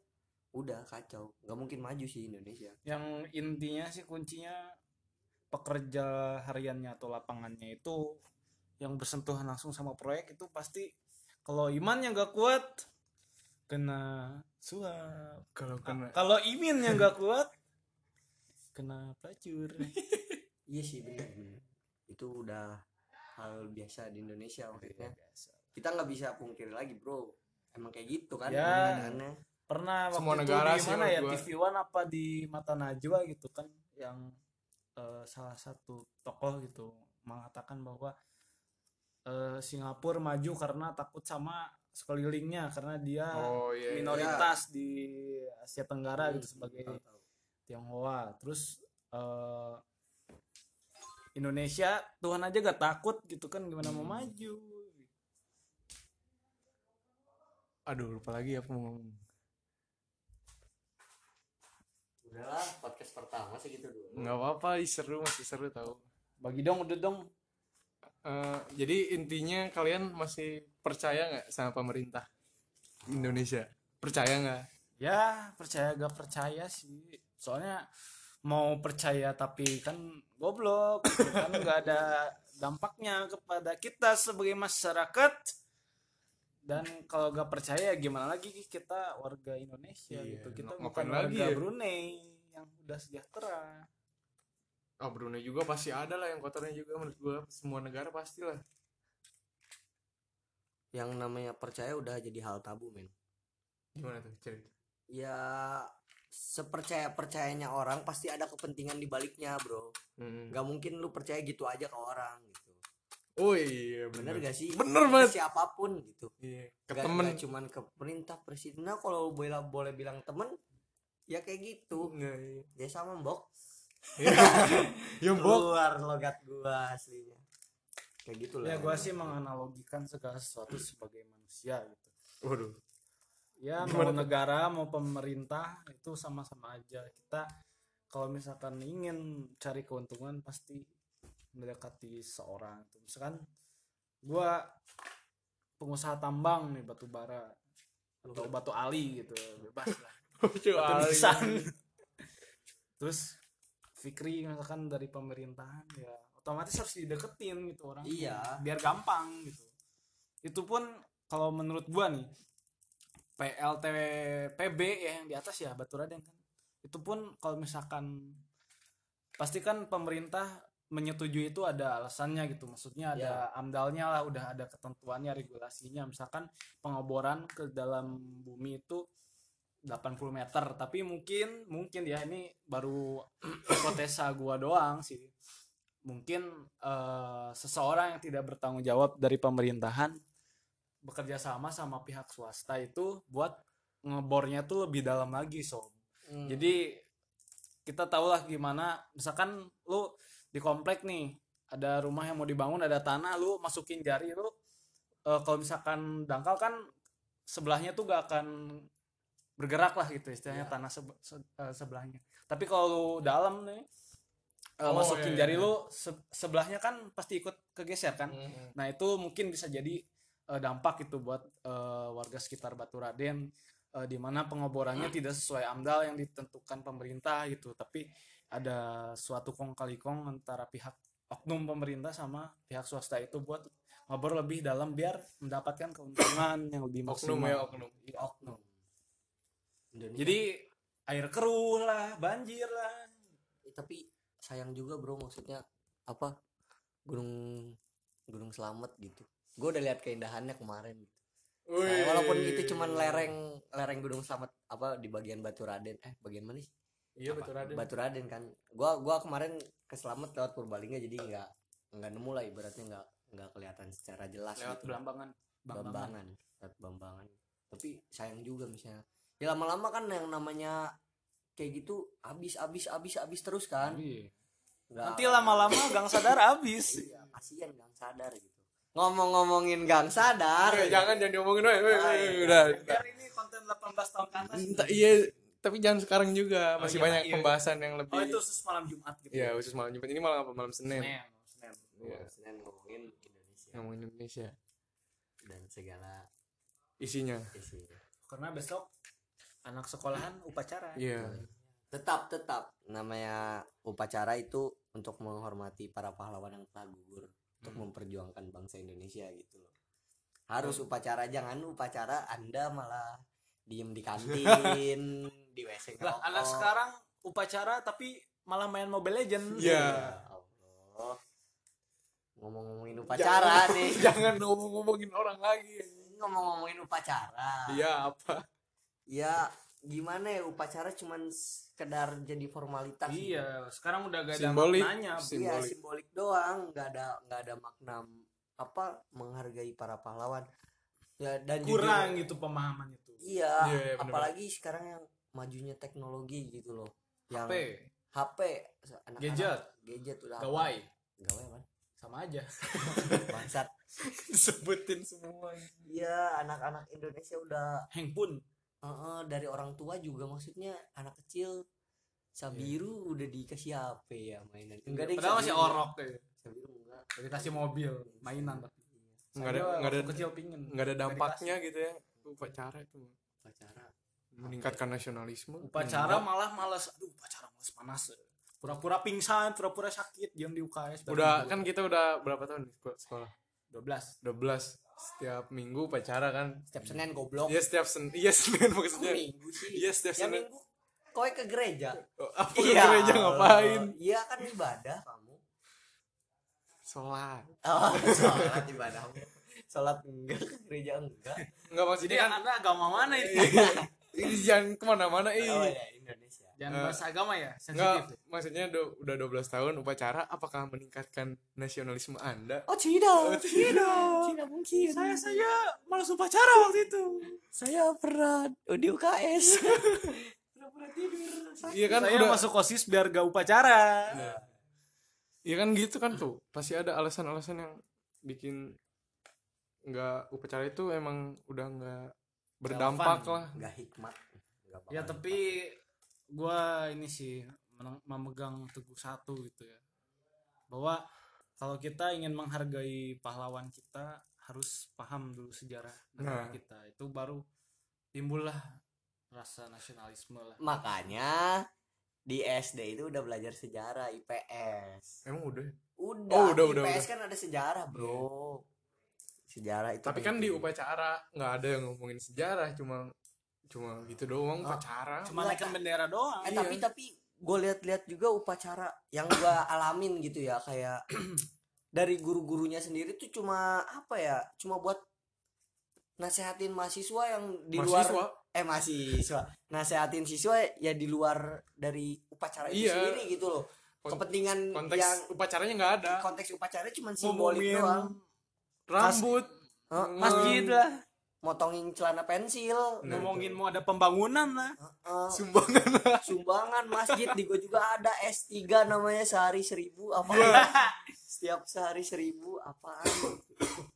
S3: udah kacau nggak mungkin maju sih Indonesia
S4: Yang intinya sih kuncinya pekerja hariannya atau lapangannya itu yang bersentuhan langsung sama proyek itu pasti kalau imannya gak kuat kena suap.
S1: kalau kena
S4: Kalau iminnya gak kuat kena pelacur.
S3: iya sih benar itu udah hal biasa di Indonesia maksudnya kita nggak bisa pungkiri lagi bro emang kayak gitu kan
S4: Ya.
S3: permainannya.
S4: pernah waktu
S1: Semua
S4: itu
S1: negara
S4: di
S1: sih
S4: mana
S1: menurut
S4: ya
S1: gua.
S4: TV One apa di Mata Najwa gitu kan yang eh, salah satu tokoh gitu mengatakan bahwa eh, Singapura maju karena takut sama sekelilingnya karena dia
S1: oh iya Hmm. iya.
S4: minoritas di Asia Tenggara gitu sebagai
S3: Tahu, tahu.
S4: Tionghoa terus eh, Indonesia Tuhan aja gak takut gitu kan gimana mau
S1: Hmm.
S4: maju
S1: aduh lupa lagi apa mau ngomong
S3: udahlah podcast pertama sih gitu dulu
S1: nggak apa-apa ih, seru masih seru tau
S4: bagi dong udah dong
S1: Eh, jadi intinya kalian masih percaya nggak sama pemerintah Indonesia percaya nggak
S4: ya percaya gak percaya sih soalnya mau percaya tapi kan goblok gitu kan nggak ada dampaknya kepada kita sebagai masyarakat dan kalau gak percaya gimana lagi kita warga Indonesia
S1: Iya,
S4: gitu kita
S1: ngapain
S4: bukan
S1: lagi
S4: warga
S1: ya?
S4: Brunei yang udah sejahtera
S1: oh Brunei juga pasti ada lah yang kotornya juga menurut gua semua negara pastilah
S3: yang namanya percaya udah jadi hal tabu men
S1: gimana tuh cerita
S3: ya sepercaya percayanya orang pasti ada kepentingan di baliknya bro
S1: Hmm.
S3: nggak mungkin lu percaya gitu aja ke orang gitu
S1: oh iya
S3: bener
S1: bener
S3: gak sih
S1: Bener banget.
S3: Ke siapapun gitu
S1: iya ke
S3: Gak-
S1: temen
S3: gak cuman ke perintah presiden nah kalau boleh boleh bilang temen ya kayak gitu
S1: Nggak, iya.
S3: ya sama mbok
S1: Iya. ya mbok
S3: keluar logat gua aslinya kayak gitu lah
S4: ya gua sih menganalogikan segala sesuatu sebagai manusia gitu
S1: waduh
S4: ya
S1: Gimana
S4: mau negara mau pemerintah itu sama-sama aja kita kalau misalkan ingin cari keuntungan pasti mendekati seorang itu misalkan gua pengusaha tambang nih batu bara atau batu ali gitu bebas lah batu
S1: Kecuali.
S4: nisan. terus Fikri misalkan dari pemerintahan ya otomatis harus dideketin gitu orang
S3: iya
S4: biar gampang gitu itu pun kalau menurut gua nih PLTPB ya yang di atas ya Batu Raden kan itu pun kalau misalkan pasti kan pemerintah menyetujui itu ada alasannya gitu maksudnya ada amdalnya lah udah ada ketentuannya regulasinya misalkan pengoboran ke dalam bumi itu 80 meter tapi mungkin mungkin ya ini baru hipotesa gua doang sih mungkin eh, seseorang yang tidak bertanggung jawab dari pemerintahan bekerja sama sama pihak swasta itu buat ngebornya tuh lebih dalam lagi sob
S1: Hmm.
S4: jadi kita tahulah gimana misalkan lu di komplek nih ada rumah yang mau dibangun ada tanah lu masukin jari lu eh, kalau misalkan dangkal kan sebelahnya tuh gak akan bergerak lah gitu istilahnya
S1: Iya.
S4: tanah sebe- se- eh, sebelahnya tapi kalau lu dalam nih eh,
S1: Oh,
S4: masukin
S1: iya,
S4: jari
S1: iya.
S4: lu se- sebelahnya kan pasti ikut kegeser kan Nah itu mungkin bisa jadi eh, dampak itu buat eh, warga sekitar Baturaden eh, di mana
S1: Hmm.
S4: pengoborannya tidak sesuai amdal yang ditentukan pemerintah gitu, tapi ada suatu kong kali kong antara pihak oknum pemerintah sama pihak swasta itu buat ngobrol lebih dalam biar mendapatkan keuntungan yang lebih maksimal.
S1: oknum ya oknum
S4: Iya, oknum. Jadi air keruh lah, banjir lah. gitu.
S3: Eh, tapi sayang juga bro maksudnya apa gunung gunung selamat gitu gue udah lihat keindahannya kemarin Nah, walaupun itu cuman lereng lereng gunung selamat apa di bagian batu raden eh bagian mana sih
S1: iya
S3: Apa?
S1: betul ada
S3: batu raden kan gua gua kemarin ke selamat lewat purbalingga jadi nggak nggak nemu lah ibaratnya nggak nggak kelihatan secara jelas
S4: Lewat
S3: gitu
S4: belambangan. Bambangan.
S3: bambangan lewat bambangan tapi sayang juga misalnya ya lama-lama kan yang namanya kayak gitu habis habis habis habis terus kan
S4: Iya.
S3: Nggak-
S4: Nanti lama-lama gang sadar habis.
S3: Iya, kasihan gang sadar gitu ngomong-ngomongin gang sadar
S1: Eh, jangan jangan diomongin weh, weh,
S3: Ah,
S1: weh,
S3: iya.
S1: udah
S4: Biar ini konten 18 tahun ke atas.
S1: Entah, iya tapi jangan sekarang juga
S4: Oh,
S1: masih
S4: iya,
S1: banyak
S4: iya.
S1: pembahasan yang lebih
S4: Oh itu khusus malam Jumat gitu.
S1: ya khusus malam Jumat ini malam apa malam Senin
S4: Senin. Senin.
S1: Iya,
S3: Senin ngomongin Indonesia
S1: ngomongin Indonesia
S3: dan segala
S1: isinya
S4: Nah,
S3: isinya
S4: Karena besok anak sekolahan upacara.
S1: iya
S3: tetap tetap namanya upacara itu untuk menghormati para pahlawan yang telah gugur untuk memperjuangkan bangsa Indonesia gitu loh harus upacara jangan upacara anda malah diem di kantin di
S1: Oh.
S3: wc
S4: Lah
S3: ngerokok
S4: anak sekarang upacara tapi malah main Mobile Legends.
S1: Iya.
S3: ya Allah ngomong-ngomongin upacara nih
S1: jangan ngomong-ngomongin orang lagi
S3: ngomong-ngomongin upacara
S1: iya apa
S3: ya gimana ya upacara cuman sekedar jadi formalitas
S4: Iya, sekarang udah gak ada
S1: Simbolik.
S4: maknanya.
S3: Iya
S1: simbolik
S3: simbolik doang, nggak ada nggak ada makna apa menghargai para pahlawan. Ya dan jujur-
S4: Kurang gitu pemahaman itu.
S1: Iya,
S3: Iya,
S1: iya, bener-bener.
S3: apalagi sekarang yang majunya teknologi gitu loh. Yang
S4: HP,
S3: HP, anak-anak
S4: Gadget.
S3: gadget udah apa?
S4: gawai,
S3: Gawai apa?
S4: sama aja.
S3: Bangsat.
S1: sebutin semua
S3: Iya, anak-anak Indonesia udah
S4: Handphone.
S3: eh, dari orang tua juga maksudnya anak kecil Sabiru udah dikasih HP ya mainan. Enggak deh,
S4: Padahal masih
S3: Sabiru.
S4: orok kayak.
S3: Sabiru enggak.
S4: Dikasih mobil, mainan tapi.
S1: nggak ada
S4: Saya
S1: nggak ada
S4: waktu kecil pingin.
S1: nggak ada dampaknya gitu ya upacara itu mah.
S3: upacara
S1: meningkatkan nasionalisme Hmm.
S4: upacara malah malas aduh upacara malas panas eh. pura-pura pingsan pura-pura sakit jam di UKS
S1: Hmm. udah kan kita udah berapa tahun di sekol- sekolah
S4: 12
S1: 12 setiap minggu upacara kan
S3: setiap senin
S4: Oh.
S3: goblok
S1: Iya setiap sen iya Senin
S3: Kok
S1: maksudnya
S3: minggu sih
S1: Iya, setiap
S3: ya
S1: Senin.
S3: minggu kowe ke gereja
S1: Oh, apa ke gereja ngapain
S3: iya kan ibadah kamu
S1: sholat
S3: oh, sholat ibadah sholat enggak ke gereja enggak
S1: nggak
S4: jadi
S1: maksudnya kan Iya.
S4: anda agama mana ini
S1: ini jangan kemana-mana
S3: oh
S1: ih
S3: ya Indonesia
S4: jangan
S1: Eh,
S4: bahas agama ya sensitif
S1: nggak maksudnya do- udah 12 tahun upacara apakah meningkatkan nasionalisme anda
S3: oh tidak
S1: tidak.
S3: tidak mungkin
S4: saya saya malas upacara waktu itu
S3: saya pernah di UKS pernah tidur
S1: iya kan
S4: saya
S1: udah
S4: masuk kosis biar gak upacara
S1: iya kan gitu kan tuh pasti ada alasan-alasan yang bikin nggak upacara itu emang udah nggak berdampak
S4: fun.
S1: lah
S3: nggak hikmat Nggak bakal
S4: ya tapi gua ini sih meneng- memegang teguh satu gitu ya bahwa kalau kita ingin menghargai pahlawan kita harus paham dulu sejarah
S1: Nah.
S4: negara kita itu baru timbullah rasa nasionalisme lah
S3: makanya di SD itu udah belajar sejarah IPS
S1: emang udah ya?
S3: udah,
S1: Oh, udah,
S3: di
S1: udah, Iya.
S3: IPS kan ada sejarah bro sejarah itu
S1: tapi kan di
S3: penting.
S1: upacara nggak ada yang ngomongin sejarah cuma cuma gitu doang
S3: Ah,
S1: upacara
S4: cuma naikkan bendera doang
S3: eh
S1: iya.
S3: tapi tapi gue lihat-lihat juga upacara yang gue alamin gitu ya kayak dari guru-gurunya sendiri tuh cuma apa ya cuma buat nasehatin mahasiswa yang di luar
S1: mahasiswa
S3: eh mahasiswa nasehatin siswa ya di luar dari upacara itu
S1: Iya.
S3: sendiri gitu loh
S1: Kon-
S3: kepentingan
S1: konteks
S3: yang
S1: upacaranya nggak ada
S3: konteks upacara cuma simbolik
S1: Ngomongin
S3: doang
S1: rambut
S3: Hah?
S1: ngomongin-
S4: masjid lah
S3: motongin celana pensil
S1: Nah,
S4: ngomongin mau ada pembangunan lah
S3: eh,
S1: sumbangan
S3: sumbangan masjid di gue juga ada S3 namanya sehari seribu apa setiap sehari seribu apaan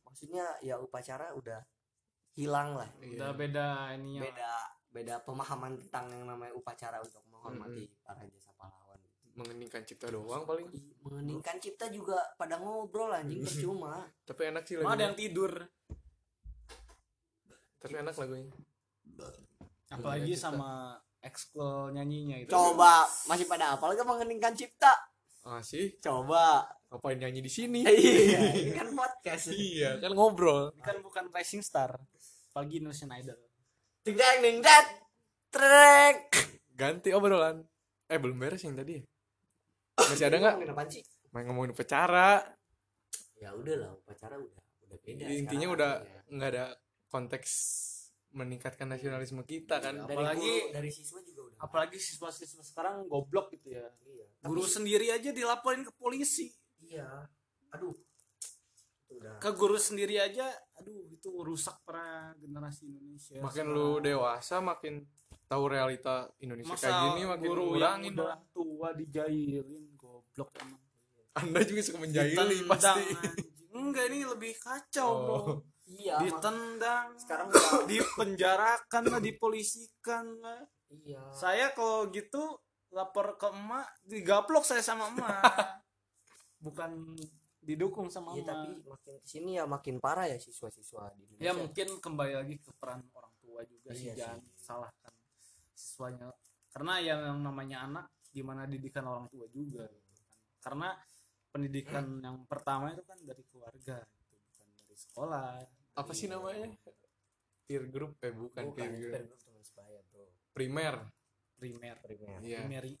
S3: maksudnya ya upacara udah hilang lah
S1: Iya.
S4: udah beda ini ya
S3: beda beda pemahaman tentang yang namanya upacara untuk menghormati para jasa pahlawan
S1: mengeningkan cipta doang paling
S3: Ih, mengeningkan cipta juga pada ngobrol anjing percuma
S1: tapi enak sih
S4: Emang ada
S1: lagunya
S4: yang tidur
S1: tapi enak lagunya
S4: apalagi
S1: Iya, kita-
S4: sama ekskul nyanyinya itu
S3: coba masih pada apal gak mengeningkan cipta
S1: ah sih
S3: coba
S1: ngapain nyanyi di sini
S3: iya ini kan podcast
S1: iya kan ngobrol
S4: Ini kan bukan racing star apalagi Indonesian Idol
S3: tidak ning dat trek
S1: ganti obrolan eh belum beres yang tadi ya masih ada nggak
S3: Ngomongin apaan sih
S1: main ngomongin upacara
S3: ya udah lah upacara udah udah beda
S1: intinya
S3: sekarang
S1: udah
S3: artinya.
S1: nggak ada konteks meningkatkan nasionalisme kita
S4: Iya,
S1: kan
S3: dari
S4: Apalagi-
S3: guru, dari siswa juga udah
S4: apalagi siswa-siswa sekarang goblok gitu ya
S3: iya Tapi-
S4: guru sendiri aja dilaporin ke polisi
S3: iya aduh udah
S4: ke guru sendiri aja aduh itu rusak para generasi Indonesia
S1: makin lu dewasa makin tahu realita Indonesia
S4: masa
S1: kayak gini makin
S4: guru yang
S1: ngurangin
S4: udah
S1: dong.
S4: tua dijailin goblok emang
S1: anda juga suka menjahili
S4: Ditendang,
S1: pasti
S4: anjing. enggak ini lebih kacau bro
S1: Oh.
S3: iya mak-
S4: ditendang
S3: sekarang udah
S4: dipenjarakan lah dipolisikan lah
S3: iya
S4: saya kalau gitu lapor ke emak digaplok saya sama emak bukan didukung sama
S3: iya
S4: emak
S3: tapi makin kesini ya makin parah ya siswa-siswa di Indonesia
S4: ya mungkin kembali lagi ke peran orang tua juga sih
S3: Iya
S4: jangan
S3: sih.
S4: salahkan siswanya karena yang yang namanya anak gimana didikan orang tua juga gitu kan. karena pendidikan yang pertama itu kan dari keluarga gitu, bukan dari sekolah
S1: apa sih namanya peer group eh bukan,
S3: bukan
S1: peer group
S3: peer group teman sebaya bro
S1: primer
S4: primer
S3: primer
S1: iya
S4: primary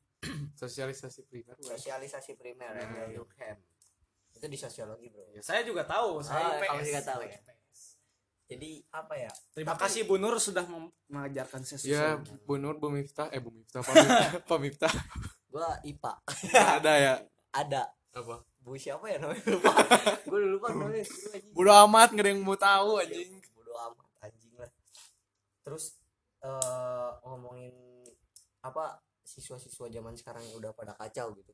S1: sosialisasi primer
S3: sosialisasi primer yang
S1: Nah.
S3: dari Durkheim itu di sosiologi bro
S4: Ya, saya juga tahu
S3: Ah,
S4: saya IPS.
S3: kamu juga tahu ya? jadi apa ya
S4: terima
S3: Tapi-
S4: kasih Bu Nur sudah mem- mengajarkan saya
S3: Iya.
S1: ya
S4: sosial.
S1: Bu Nur Bu Miftah eh Bu Miftah Pak Miftah, Pak Miftah.
S3: gua IPA
S1: ada ya
S3: ada
S1: apa
S3: Bu siapa ya namanya lupa. gue lupa namanya guru anjing.
S1: bodo amat nggak ada yang mau tahu anjing
S3: Bodo amat anjing lah. Terus eh ngomongin apa siswa-siswa zaman sekarang yang udah pada kacau gitu.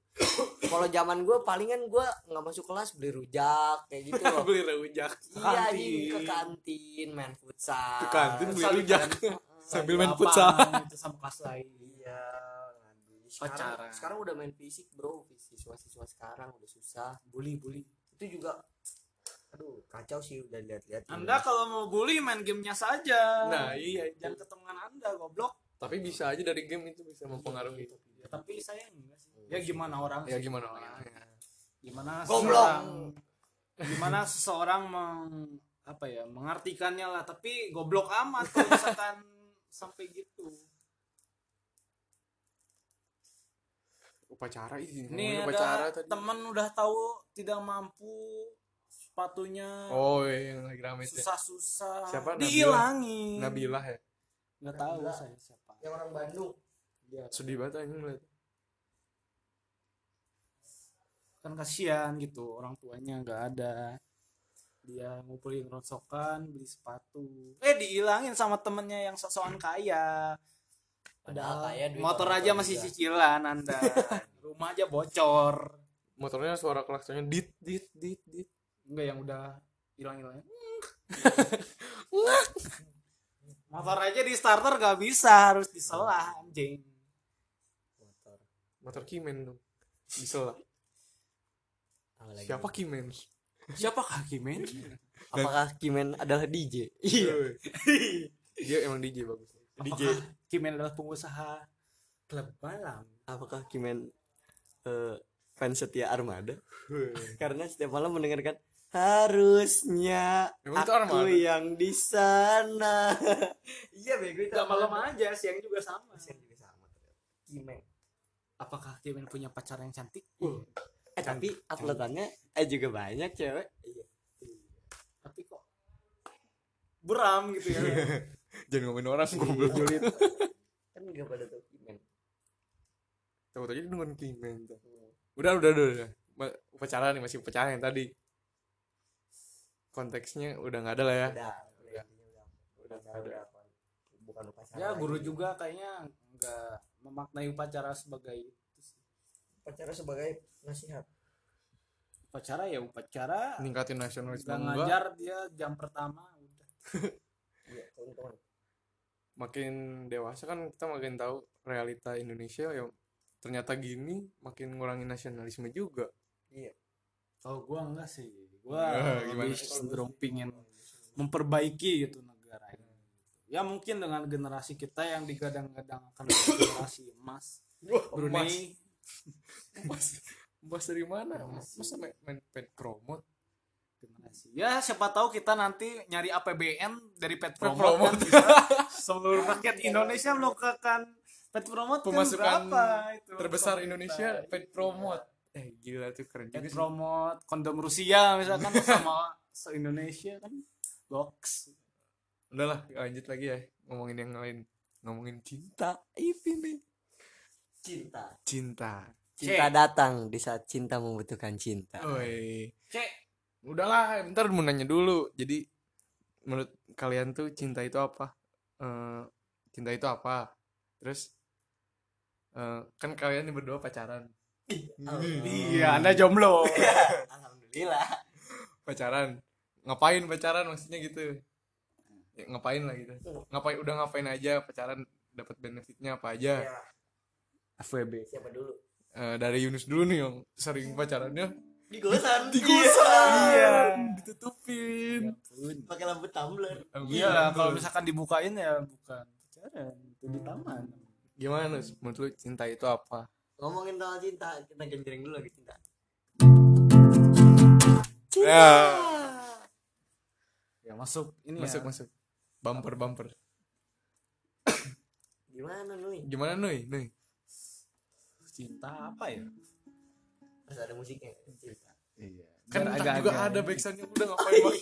S3: Kalau zaman gue palingan gue nggak masuk kelas beli rujak kayak gitu loh.
S1: beli rujak
S3: iya
S4: kantin.
S3: anjing ke kantin main futsal.
S1: ke kantin beli
S4: Futsal di
S1: rujak sambil main futsal
S4: itu gitu sama kelas lain
S3: Iya. ngadu. Sekarang,
S4: Pacaran.
S3: sekarang udah main fisik bro siswa-siswa sekarang udah susah
S4: bully bully
S3: itu juga aduh kacau sih udah lihat-lihat ini.
S4: Anda kalau mau bully main gamenya saja.
S1: Nah, iya, itu.
S4: Jangan ketemuan Anda goblok.
S1: tapi bisa aja dari game itu bisa mempengaruhi
S4: Ya, tapi saya enggak sih. Ya gimana orang?
S1: ya
S4: sih?
S1: gimana orangnya
S4: Gimana
S3: Goblok.
S4: seseorang gimana seseorang meng apa ya mengartikannya lah tapi goblok amat kalau misalkan sampai gitu
S1: upacara ini
S4: ini
S1: ngomongin
S4: ada
S1: tadi
S4: temen udah tahu tidak mampu sepatunya
S1: oh iya, yang lagi rame itu ya.
S4: susah-susah
S1: Siapa? Nabila.
S4: dihilangin
S1: Nabilah ya
S4: nggak tahu
S3: Nabila.
S4: saya siapa
S3: yang orang Bandung
S1: sedih banget anjing ngeliat
S4: kan kasihan gitu orang tuanya nggak ada dia ngumpulin ronsokan beli sepatu eh dihilangin sama temennya yang sosokan kaya
S3: Padahal
S4: Padahal
S3: kaya, duit
S4: motor
S3: orang
S4: aja
S3: tua
S4: masih
S3: juga.
S4: cicilan anda rumah aja bocor
S1: motornya suara klaksonnya dit dit dit dit
S4: enggak yang udah hilang hilang motor aja di starter gak bisa harus diselah anjing
S3: motor
S1: motor kimen dong bisa lah
S3: Apa lagi?
S1: siapa kimen
S4: siapa kaki men
S3: apakah Kimen adalah DJ
S1: iya dia emang DJ bagus
S4: DJ Kimen adalah pengusaha klub malam
S3: apakah Kimen eh, fans setia Armada
S1: Weh.
S3: karena setiap malam mendengarkan harusnya
S1: Emang itu
S3: aku
S1: Armada?
S3: yang di sana iya bego itu
S4: Gak malam
S3: Armada.
S4: aja, siang juga sama.
S3: Kasihan juga sama Kimen
S4: Apakah Kimen punya pacar yang cantik?
S1: Uh.
S3: eh tapi atletannya eh juga banyak cewek iya
S4: Tapi kok beram gitu ya.
S1: jangan ngomongin orang goblok
S4: Iya.
S1: julid
S3: kan gak pada tuh Kimen
S1: tahu tadi nungguin kimen tuh. udah udah udah, udah. Ma- upacara nih masih upacara yang tadi konteksnya udah nggak ada lah ya
S3: udah udah udah udah, udah. bukan upacara
S4: ya guru
S3: lagi.
S4: juga kayaknya nggak memaknai upacara sebagai itu sih.
S3: upacara sebagai nasihat
S4: upacara ya upacara.
S1: ningkatin nasionalisme
S4: Nggak
S1: enggak
S4: ngajar dia jam pertama udah.
S3: iya teman-teman
S1: makin dewasa kan kita makin tahu realita Indonesia ya ternyata gini makin ngurangin nasionalisme juga
S4: Kalau gua enggak sih, gua
S1: Ya,
S4: lebih
S1: gimana?
S4: cenderung pingin memperbaiki gitu negara ini. Ya mungkin dengan generasi kita yang digadang-gadang akan menjadi generasi emas
S1: Brunei
S4: Brunei
S1: emas emas dari mana
S4: Iya
S1: masa main, main pen promote
S4: generasi. Ya siapa tahu kita nanti nyari APBN dari Pet
S1: Pet Promote.
S4: Promote kan bisa seluruh rakyat Indonesia melakukan Pet Promote kan
S1: Pemasukan
S4: berapa itu
S1: terbesar
S4: pemerintah.
S1: Indonesia pen promote eh gila tuh keren
S4: iya.
S1: juga
S4: Pet
S1: sih
S4: Promote kondom Rusia misalkan sama se Indonesia kan box
S1: udahlah lanjut lagi ya ngomongin yang lain ngomongin cinta itu nih
S3: cinta
S1: cinta
S3: cinta datang di saat cinta membutuhkan cinta
S1: Oi.
S4: cek
S1: udahlah bentar mau nanya dulu jadi menurut kalian tuh cinta itu apa Eh, cinta itu apa terus eh, kan kalian nih berdua pacaran
S4: iya anda jomblo
S3: alhamdulillah
S1: pacaran ngapain pacaran maksudnya gitu Ya, ngapain lah gitu ngapain udah ngapain aja pacaran dapat benefitnya apa aja FWB
S3: siapa dulu
S1: Eh, dari Yunus dulu nih yang sering pacarannya
S3: digosan
S1: iya ditutupin
S3: pakai lampu tumbler
S4: iya lah kalau misalkan dibukain ya bukan pacaran itu di taman
S1: gimana Nus? menurut lu cinta itu apa
S3: ngomongin soal cinta kita genjreng dulu lagi cinta
S1: Ya.
S4: ya masuk ini
S1: masuk
S4: ya.
S1: masuk bumper bumper
S3: gimana Nui
S1: gimana Nui Nui
S4: cinta apa ya
S3: harus ada musiknya cinta
S1: kan
S4: Iya, Biar
S1: agak
S4: agak-agak
S1: juga ada
S4: ini.
S1: backsoundnya udah ngapain Bang?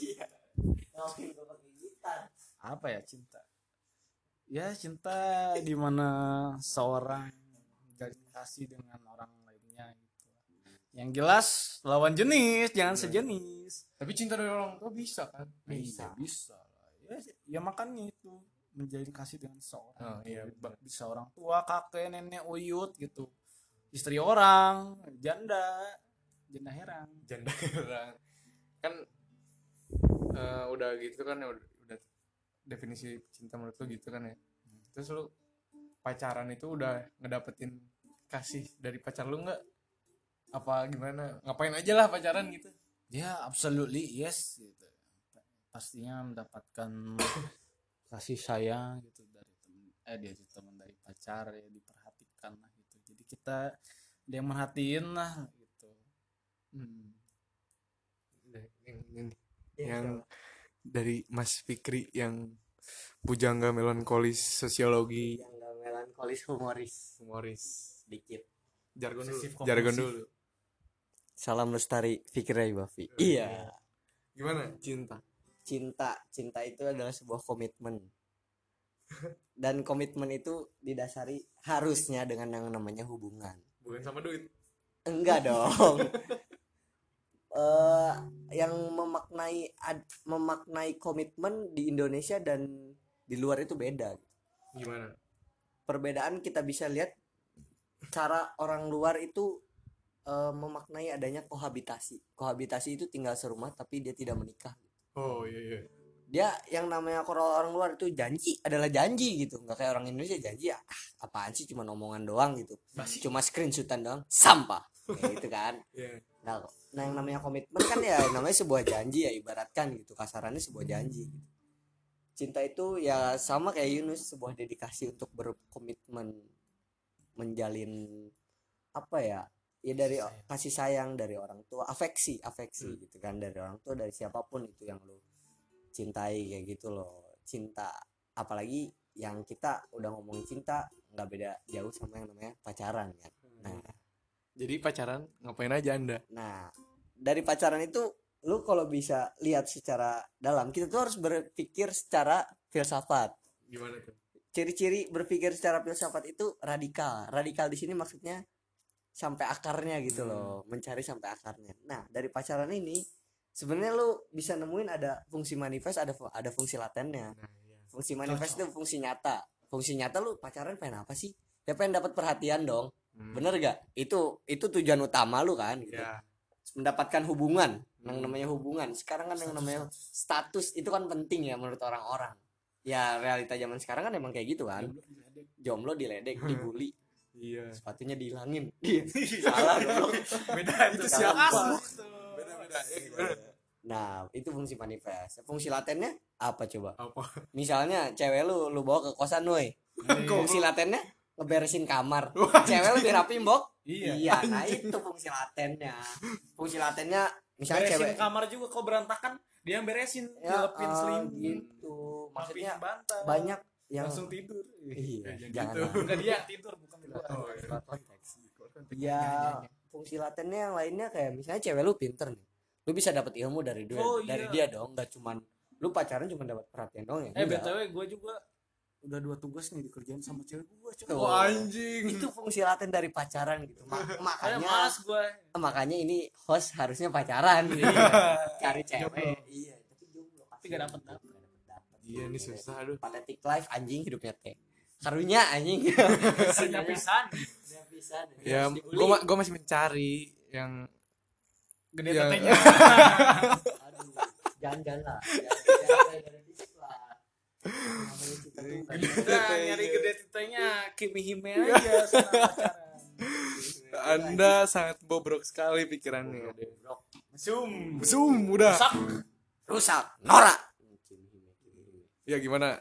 S3: ngapain gue pakai gitar
S4: apa ya cinta ya cinta di mana seorang menjalin kasih dengan orang lainnya gitu yang jelas lawan jenis jangan sejenis
S1: tapi cinta dari orang tua bisa kan
S3: Bisa.
S4: Iya, bisa lah. ya, ya makanya itu menjalin kasih dengan seorang
S1: Oh, iya, benar.
S4: bisa orang tua kakek nenek uyut gitu istri orang janda janda heran
S1: janda orang kan eh, udah gitu kan ya, udah, udah definisi cinta menurut lu gitu kan ya terus lu pacaran itu udah ngedapetin kasih dari pacar lu nggak apa gimana ngapain aja lah pacaran gitu
S4: Ya, absolutely yes gitu. Pastinya mendapatkan kasih sayang gitu dari temen eh dari teman dari pacar ya diperhatikan lah gitu. Jadi kita ada yang merhatiin lah gitu. Hmm.
S1: yang, ini,
S3: Iya,
S1: yang dari Mas Fikri yang pujangga melankolis sosiologi
S3: yang nggak melankolis humoris
S1: humoris
S3: sedikit
S1: jargon
S4: Obsesif
S1: dulu
S4: kompulsif.
S1: jargon dulu
S3: salam lestari Fikri Bafi iya
S1: gimana cinta
S3: cinta cinta itu adalah sebuah komitmen dan komitmen itu didasari harusnya dengan yang namanya hubungan
S1: bukan sama duit
S3: enggak dong eh yang memaknai ad- memaknai komitmen di Indonesia dan di luar itu beda
S1: gimana
S3: perbedaan kita bisa lihat cara orang luar itu eh, memaknai adanya kohabitasi kohabitasi itu tinggal serumah tapi dia tidak menikah
S1: oh iya iya
S3: dia yang namanya kalau orang luar itu janji adalah janji gitu nggak kayak orang Indonesia janji ya ah, apaan sih cuma omongan doang gitu
S4: Basi.
S3: cuma screenshotan doang sampah kayak gitu kan
S1: Iya.
S3: Nah, nah yang namanya komitmen kan ya namanya sebuah janji ya ibaratkan gitu kasarannya sebuah janji. gitu. Cinta itu ya sama kayak Yunus sebuah dedikasi untuk berkomitmen menjalin apa ya? Ya dari
S4: Kasih sayang.
S3: kasih sayang dari orang tua, afeksi, afeksi
S1: Hmm.
S3: gitu kan dari orang tua dari siapapun itu yang lu cintai kayak gitu loh. Cinta apalagi yang kita udah ngomongin cinta nggak beda jauh sama yang namanya pacaran kan. Nah,
S1: jadi pacaran ngapain aja anda
S3: Nah, dari pacaran itu lu kalau bisa lihat secara dalam, kita tuh harus berpikir secara filsafat.
S1: gimana tuh
S3: Ciri-ciri berpikir secara filsafat itu radikal. Radikal di sini maksudnya sampai akarnya gitu
S1: Hmm.
S3: loh, mencari sampai akarnya. Nah, dari pacaran ini sebenarnya lu bisa nemuin ada fungsi manifest, ada fu- ada fungsi latennya.
S1: nah iya
S3: Fungsi manifest itu fungsi nyata. Fungsi nyata lu pacaran pengen apa sih? Ya pengen dapat perhatian dong.
S1: Hmm.
S3: Bener gak? Itu itu tujuan utama lu kan gitu
S1: ya
S3: mendapatkan hubungan yang
S1: Hmm.
S3: namanya hubungan sekarang kan yang namanya status itu kan penting ya menurut orang-orang ya realita zaman sekarang kan emang kayak gitu kan jomblo diledek
S1: Hmm.
S3: dibully
S1: iya
S3: sepatunya dihilangin salah goblok.
S1: beda
S3: Itu
S1: Iya. siapa
S3: siapa?
S1: beda beda ya gimana
S3: nah itu fungsi manifest fungsi latennya apa coba
S1: apa
S3: misalnya cewek lu lu bawa ke kosan woi
S1: Iya.
S4: Iya.
S3: fungsi latennya ngeberesin kamar
S1: Wah,
S3: cewek lebih rapi mbok
S4: Iya.
S3: nah itu fungsi latennya fungsi latennya misalnya
S4: Beresin
S3: cewek
S4: kamar juga kau berantakan, dia yang beresin,
S3: ya,
S4: dilepin
S3: eh,
S4: selimut,
S3: gitu maksudnya
S4: rapiin bantal,
S3: banyak yang
S4: langsung tidur.
S3: Iya,
S1: Ya,
S3: jangan.
S1: gitu.
S3: lah.
S4: Enggak dia yang tidur bukan gua.
S1: Oh, iya.
S3: Keluar konteks. Ya, fungsi latennya yang lainnya kayak misalnya cewek lu pinter nih. Lu bisa dapat ilmu dari dia,
S4: Oh,
S3: dari dia
S4: iya.
S3: dong, nggak cuman lu pacaran cuma dapat perhatian doang ya.
S1: iya.
S4: Eh
S3: Enggak.
S4: btw gue juga udah dua tugas nih dikerjain sama cewek gue
S3: Tuh.
S4: coba.
S1: oh anjing
S3: Itu fungsi laten dari pacaran gitu. Ma-
S4: Kayak
S3: makanya
S4: malas gue.
S3: makanya ini host harusnya pacaran gitu. Cari
S1: Jomblo.
S3: cewek. Iya, tapi jomblo. Tapi
S4: nggak dapet dapet.
S1: iya nih susah aduh
S3: Pathetic life anjing hidupnya teh. Karunya anjing.
S4: Hanya pisan.
S3: Ya bisa.
S1: ya gua ma- gua masih mencari yang
S4: Iya. Gede
S1: Ya.
S4: tetenya.
S3: Aduh, jangan-jangan lah. Jangan-jangan dari fisik lah. Namanya cinta tuh nggak bisa
S4: Udah nyari gede tetenya Kimi Hime aja sana pacaran.
S1: anda sangat bobrok sekali pikirannya
S3: dibobrok.
S4: Zoom.
S1: zoom udah
S4: Sak.
S3: Rusak, norak.
S1: ya gimana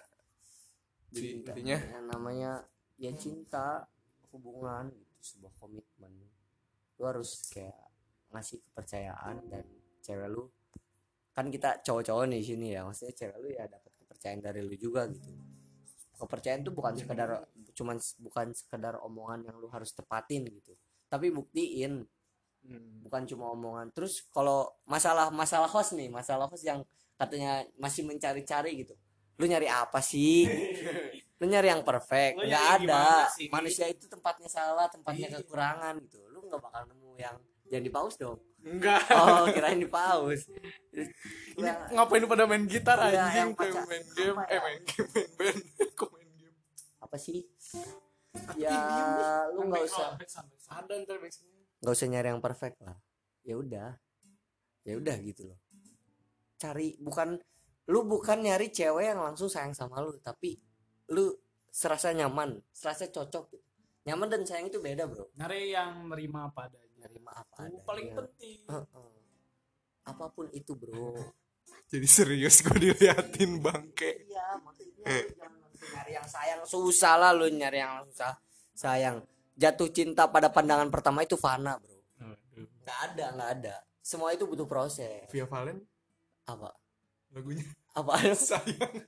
S1: jadi
S3: Cinta.
S1: intinya
S3: Yang namanya ya cinta, hubungan gitu, sebuah komitmen. Lu harus kayak ngasih kepercayaan dan cewek lu kan kita cowok-cowok nih di sini ya maksudnya cewek lu ya dapat kepercayaan dari lu juga gitu kepercayaan tuh bukan sekedar
S4: Iya.
S3: cuman s- bukan sekedar omongan yang lu harus tepatin gitu tapi buktiin
S4: Hmm.
S3: bukan cuma omongan terus kalau masalah masalah host nih masalah host yang katanya masih mencari-cari gitu lu nyari apa sih lu nyari yang perfect
S4: Lu nyari
S3: nggak
S4: yang
S3: ada
S4: gimana sih?
S3: manusia itu tempatnya salah tempatnya
S4: Iya.
S3: kekurangan gitu lu nggak bakal nemu yang jangan dipaus dong
S1: enggak
S3: oh kirain dipaus Ya, Lu
S1: Ini
S3: yang-
S4: Iya.
S1: ngapain lu pada main gitu? gitar
S3: Iya, yang
S1: anjing Kayak
S3: pacar-
S1: main game
S3: apa
S1: eh
S3: ya?
S1: main game main band kok main game
S3: apa sih ya lu nggak
S4: Nggak
S3: usah
S1: ada ntar maksudnya
S3: nggak usah nyari yang perfect lah ya udah ya udah gitu loh cari bukan lu bukan nyari cewek yang langsung sayang sama lu tapi lu serasa nyaman serasa cocok gitu. nyaman dan sayang itu beda bro
S4: Nyari yang nerima apa adanya. Oh,
S3: nerima apa
S4: Itu
S3: adanya
S4: paling penting.
S3: Heeh. apapun itu bro
S1: Jadi serius gue diliatin bangke.
S3: iya maksudnya lu jangan langsung nyari yang sayang susah lah lu nyari yang susah sayang jatuh cinta pada pandangan pertama itu fana bro nggak ada nggak ada semua itu butuh proses
S1: Via Valen
S3: apa
S1: lagunya
S3: apa
S1: sayang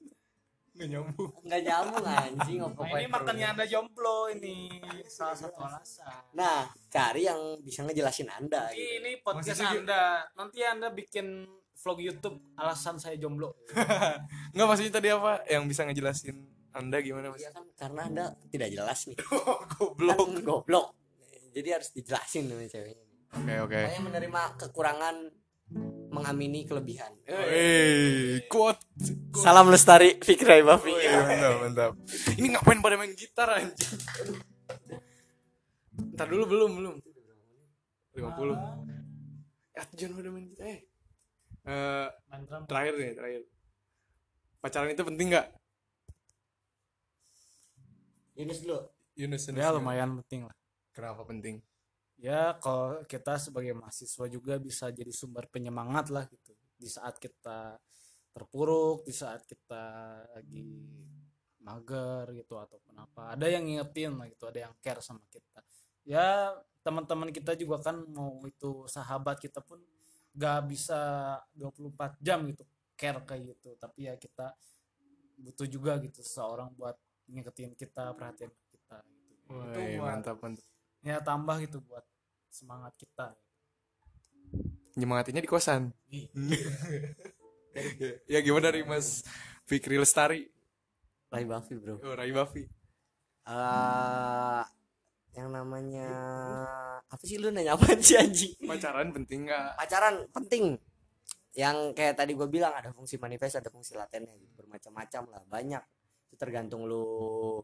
S1: nggak nyambung.
S3: nggak nyambung anjing apa
S4: Nah, ini makanya
S3: ya.
S4: anda jomblo ini salah satu alasan.
S3: nah cari yang bisa ngejelasin anda
S4: Ini,
S3: gitu.
S4: ini podcast
S1: Maksudnya-
S4: anda. Nanti anda bikin vlog YouTube alasan saya jomblo.
S1: Nggak maksudnya tadi apa? Yang bisa ngejelasin anda gimana mas?
S3: Iya kan karena anda tidak jelas nih
S1: Goblok.
S3: kan goblok jadi harus dijelasin sama ceweknya
S1: Oke oke.
S3: Makanya menerima kekurangan mengamini kelebihan
S1: Hey, kuat.
S3: salam lestari Fikri Bafi
S1: mantap mantap. Ini ngapain pada main gitar anjing? Ntar dulu belum belum. 50 Ya John udah main gitar. Eh. Eh,
S4: Main drum.
S1: terakhir nih terakhir. Pacaran itu penting nggak?
S3: Yunus dulu
S1: Yunus, Yunus,
S4: Ya
S1: Yunus.
S4: lumayan penting lah.
S1: Kenapa penting?
S4: Ya kalau kita sebagai mahasiswa juga bisa jadi sumber penyemangat lah gitu. Di saat kita terpuruk, di saat kita lagi mager gitu ataupun apa. Ada yang ngingetin lah gitu, ada yang care sama kita. Ya teman-teman kita juga kan mau itu sahabat kita pun gak bisa 24 jam gitu care kayak gitu. Tapi ya kita butuh juga gitu seorang buat ngingetin kita, perhatian ke kita gitu. Itu
S1: Woi,
S4: buat
S1: mantap mantap.
S4: ya tambah gitu buat semangat kita
S1: Nyemangatinnya di kosan.
S4: Ih.
S1: ya gimana dari Mas Fikri Lestari?
S3: Rai Bafi bro
S1: Oh, Rai Bafi.
S3: Eh, yang namanya apa sih lu nanya apa sih anjing
S1: Pacaran penting nggak?
S3: pacaran penting yang kayak tadi gue bilang ada fungsi manifest ada fungsi latennya gitu. bermacam-macam lah banyak itu tergantung lu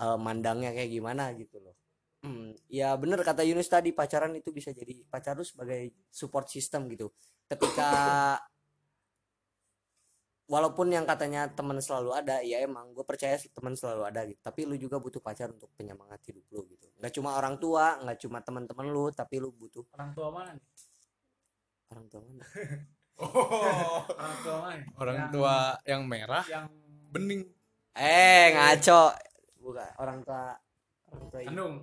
S3: eh, mandangnya kayak gimana gitu loh Hmm, ya bener kata Yunus tadi pacaran itu bisa jadi pacar lu sebagai support system gitu ketika walaupun yang katanya teman selalu ada ya emang gue percaya sih teman selalu ada gitu tapi lu juga butuh pacar untuk penyemangat hidup lu gitu nggak cuma orang tua nggak cuma teman-teman lu tapi lu butuh
S4: orang tua mana nih
S3: orang tua mana?
S1: Oh.
S4: orang tua mana nih?
S1: Orang
S4: Yang-
S1: tua yang merah,
S4: yang
S1: bening. Iya.
S3: Eh ngaco Bukan orang tua Orang tua kandung,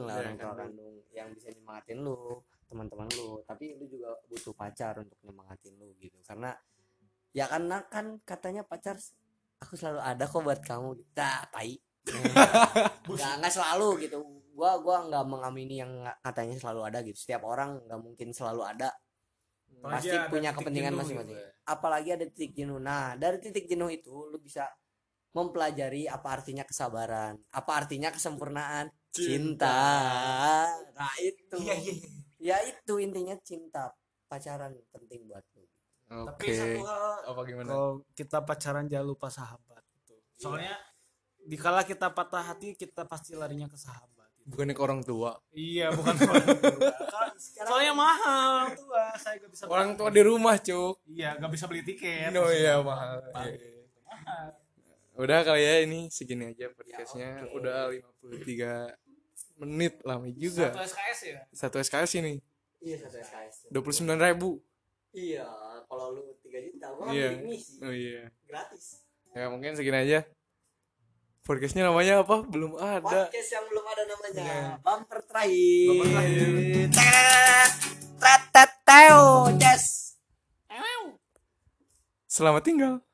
S3: kandung lah
S1: Iya,
S3: orang tua
S1: kandung.
S3: kandung Yang bisa nyemangatin lu Teman-teman lu Tapi lu juga butuh pacar untuk nyemangatin lu gitu Karena Ya karena kan katanya pacar Aku selalu ada kok buat kamu Dah tai Nggak, nggak selalu gitu Gua gua nggak mengamini yang nggak- katanya selalu ada gitu Setiap orang nggak mungkin selalu ada Pasti
S4: Apalagi ada
S3: punya
S4: titik
S3: kepentingan
S4: jenuh
S3: masing-masing.
S4: gitu ya.
S3: apalagi ada titik jenuh. Nah, dari titik jenuh itu lu bisa mempelajari apa artinya kesabaran, apa artinya kesempurnaan, cinta. Nah, itu.
S1: Iya,
S3: Ya itu intinya cinta. Pacaran penting buat lu.
S4: tapi
S1: Oke.
S4: satu hal
S1: Apa gimana?
S4: kalau kita pacaran jangan lupa sahabat gitu soalnya dikala kita patah hati kita pasti larinya ke sahabat gitu.
S1: Bukannya ke orang tua.
S4: iya bukan orang tua. Kan- soalnya mahal orang tua saya gak bisa
S1: Orang tua di rumah, Cuk.
S4: iya gak bisa beli tiket
S1: No ya, mahal. Iya. Udah kali ya ini segini aja podcastnya.
S3: Ya, oke.
S1: Udah 53 menit lama
S4: satu
S1: juga.
S4: SKS ya
S1: Satu SKS ini
S3: Iya, satu SKS.
S1: 29 ribu.
S3: Iya, kalau lu 3 juta, gua
S1: Iya.
S3: beli misi
S1: Oh iya.
S3: gratis.
S1: Ya mungkin segini aja. Podcastnya namanya apa? Belum ada.
S3: Podcast yang belum ada namanya.
S1: Iya. Bumper
S3: Bumper terakhir.
S1: terakhir.
S3: Teteteteo, yes.
S1: Selamat tinggal.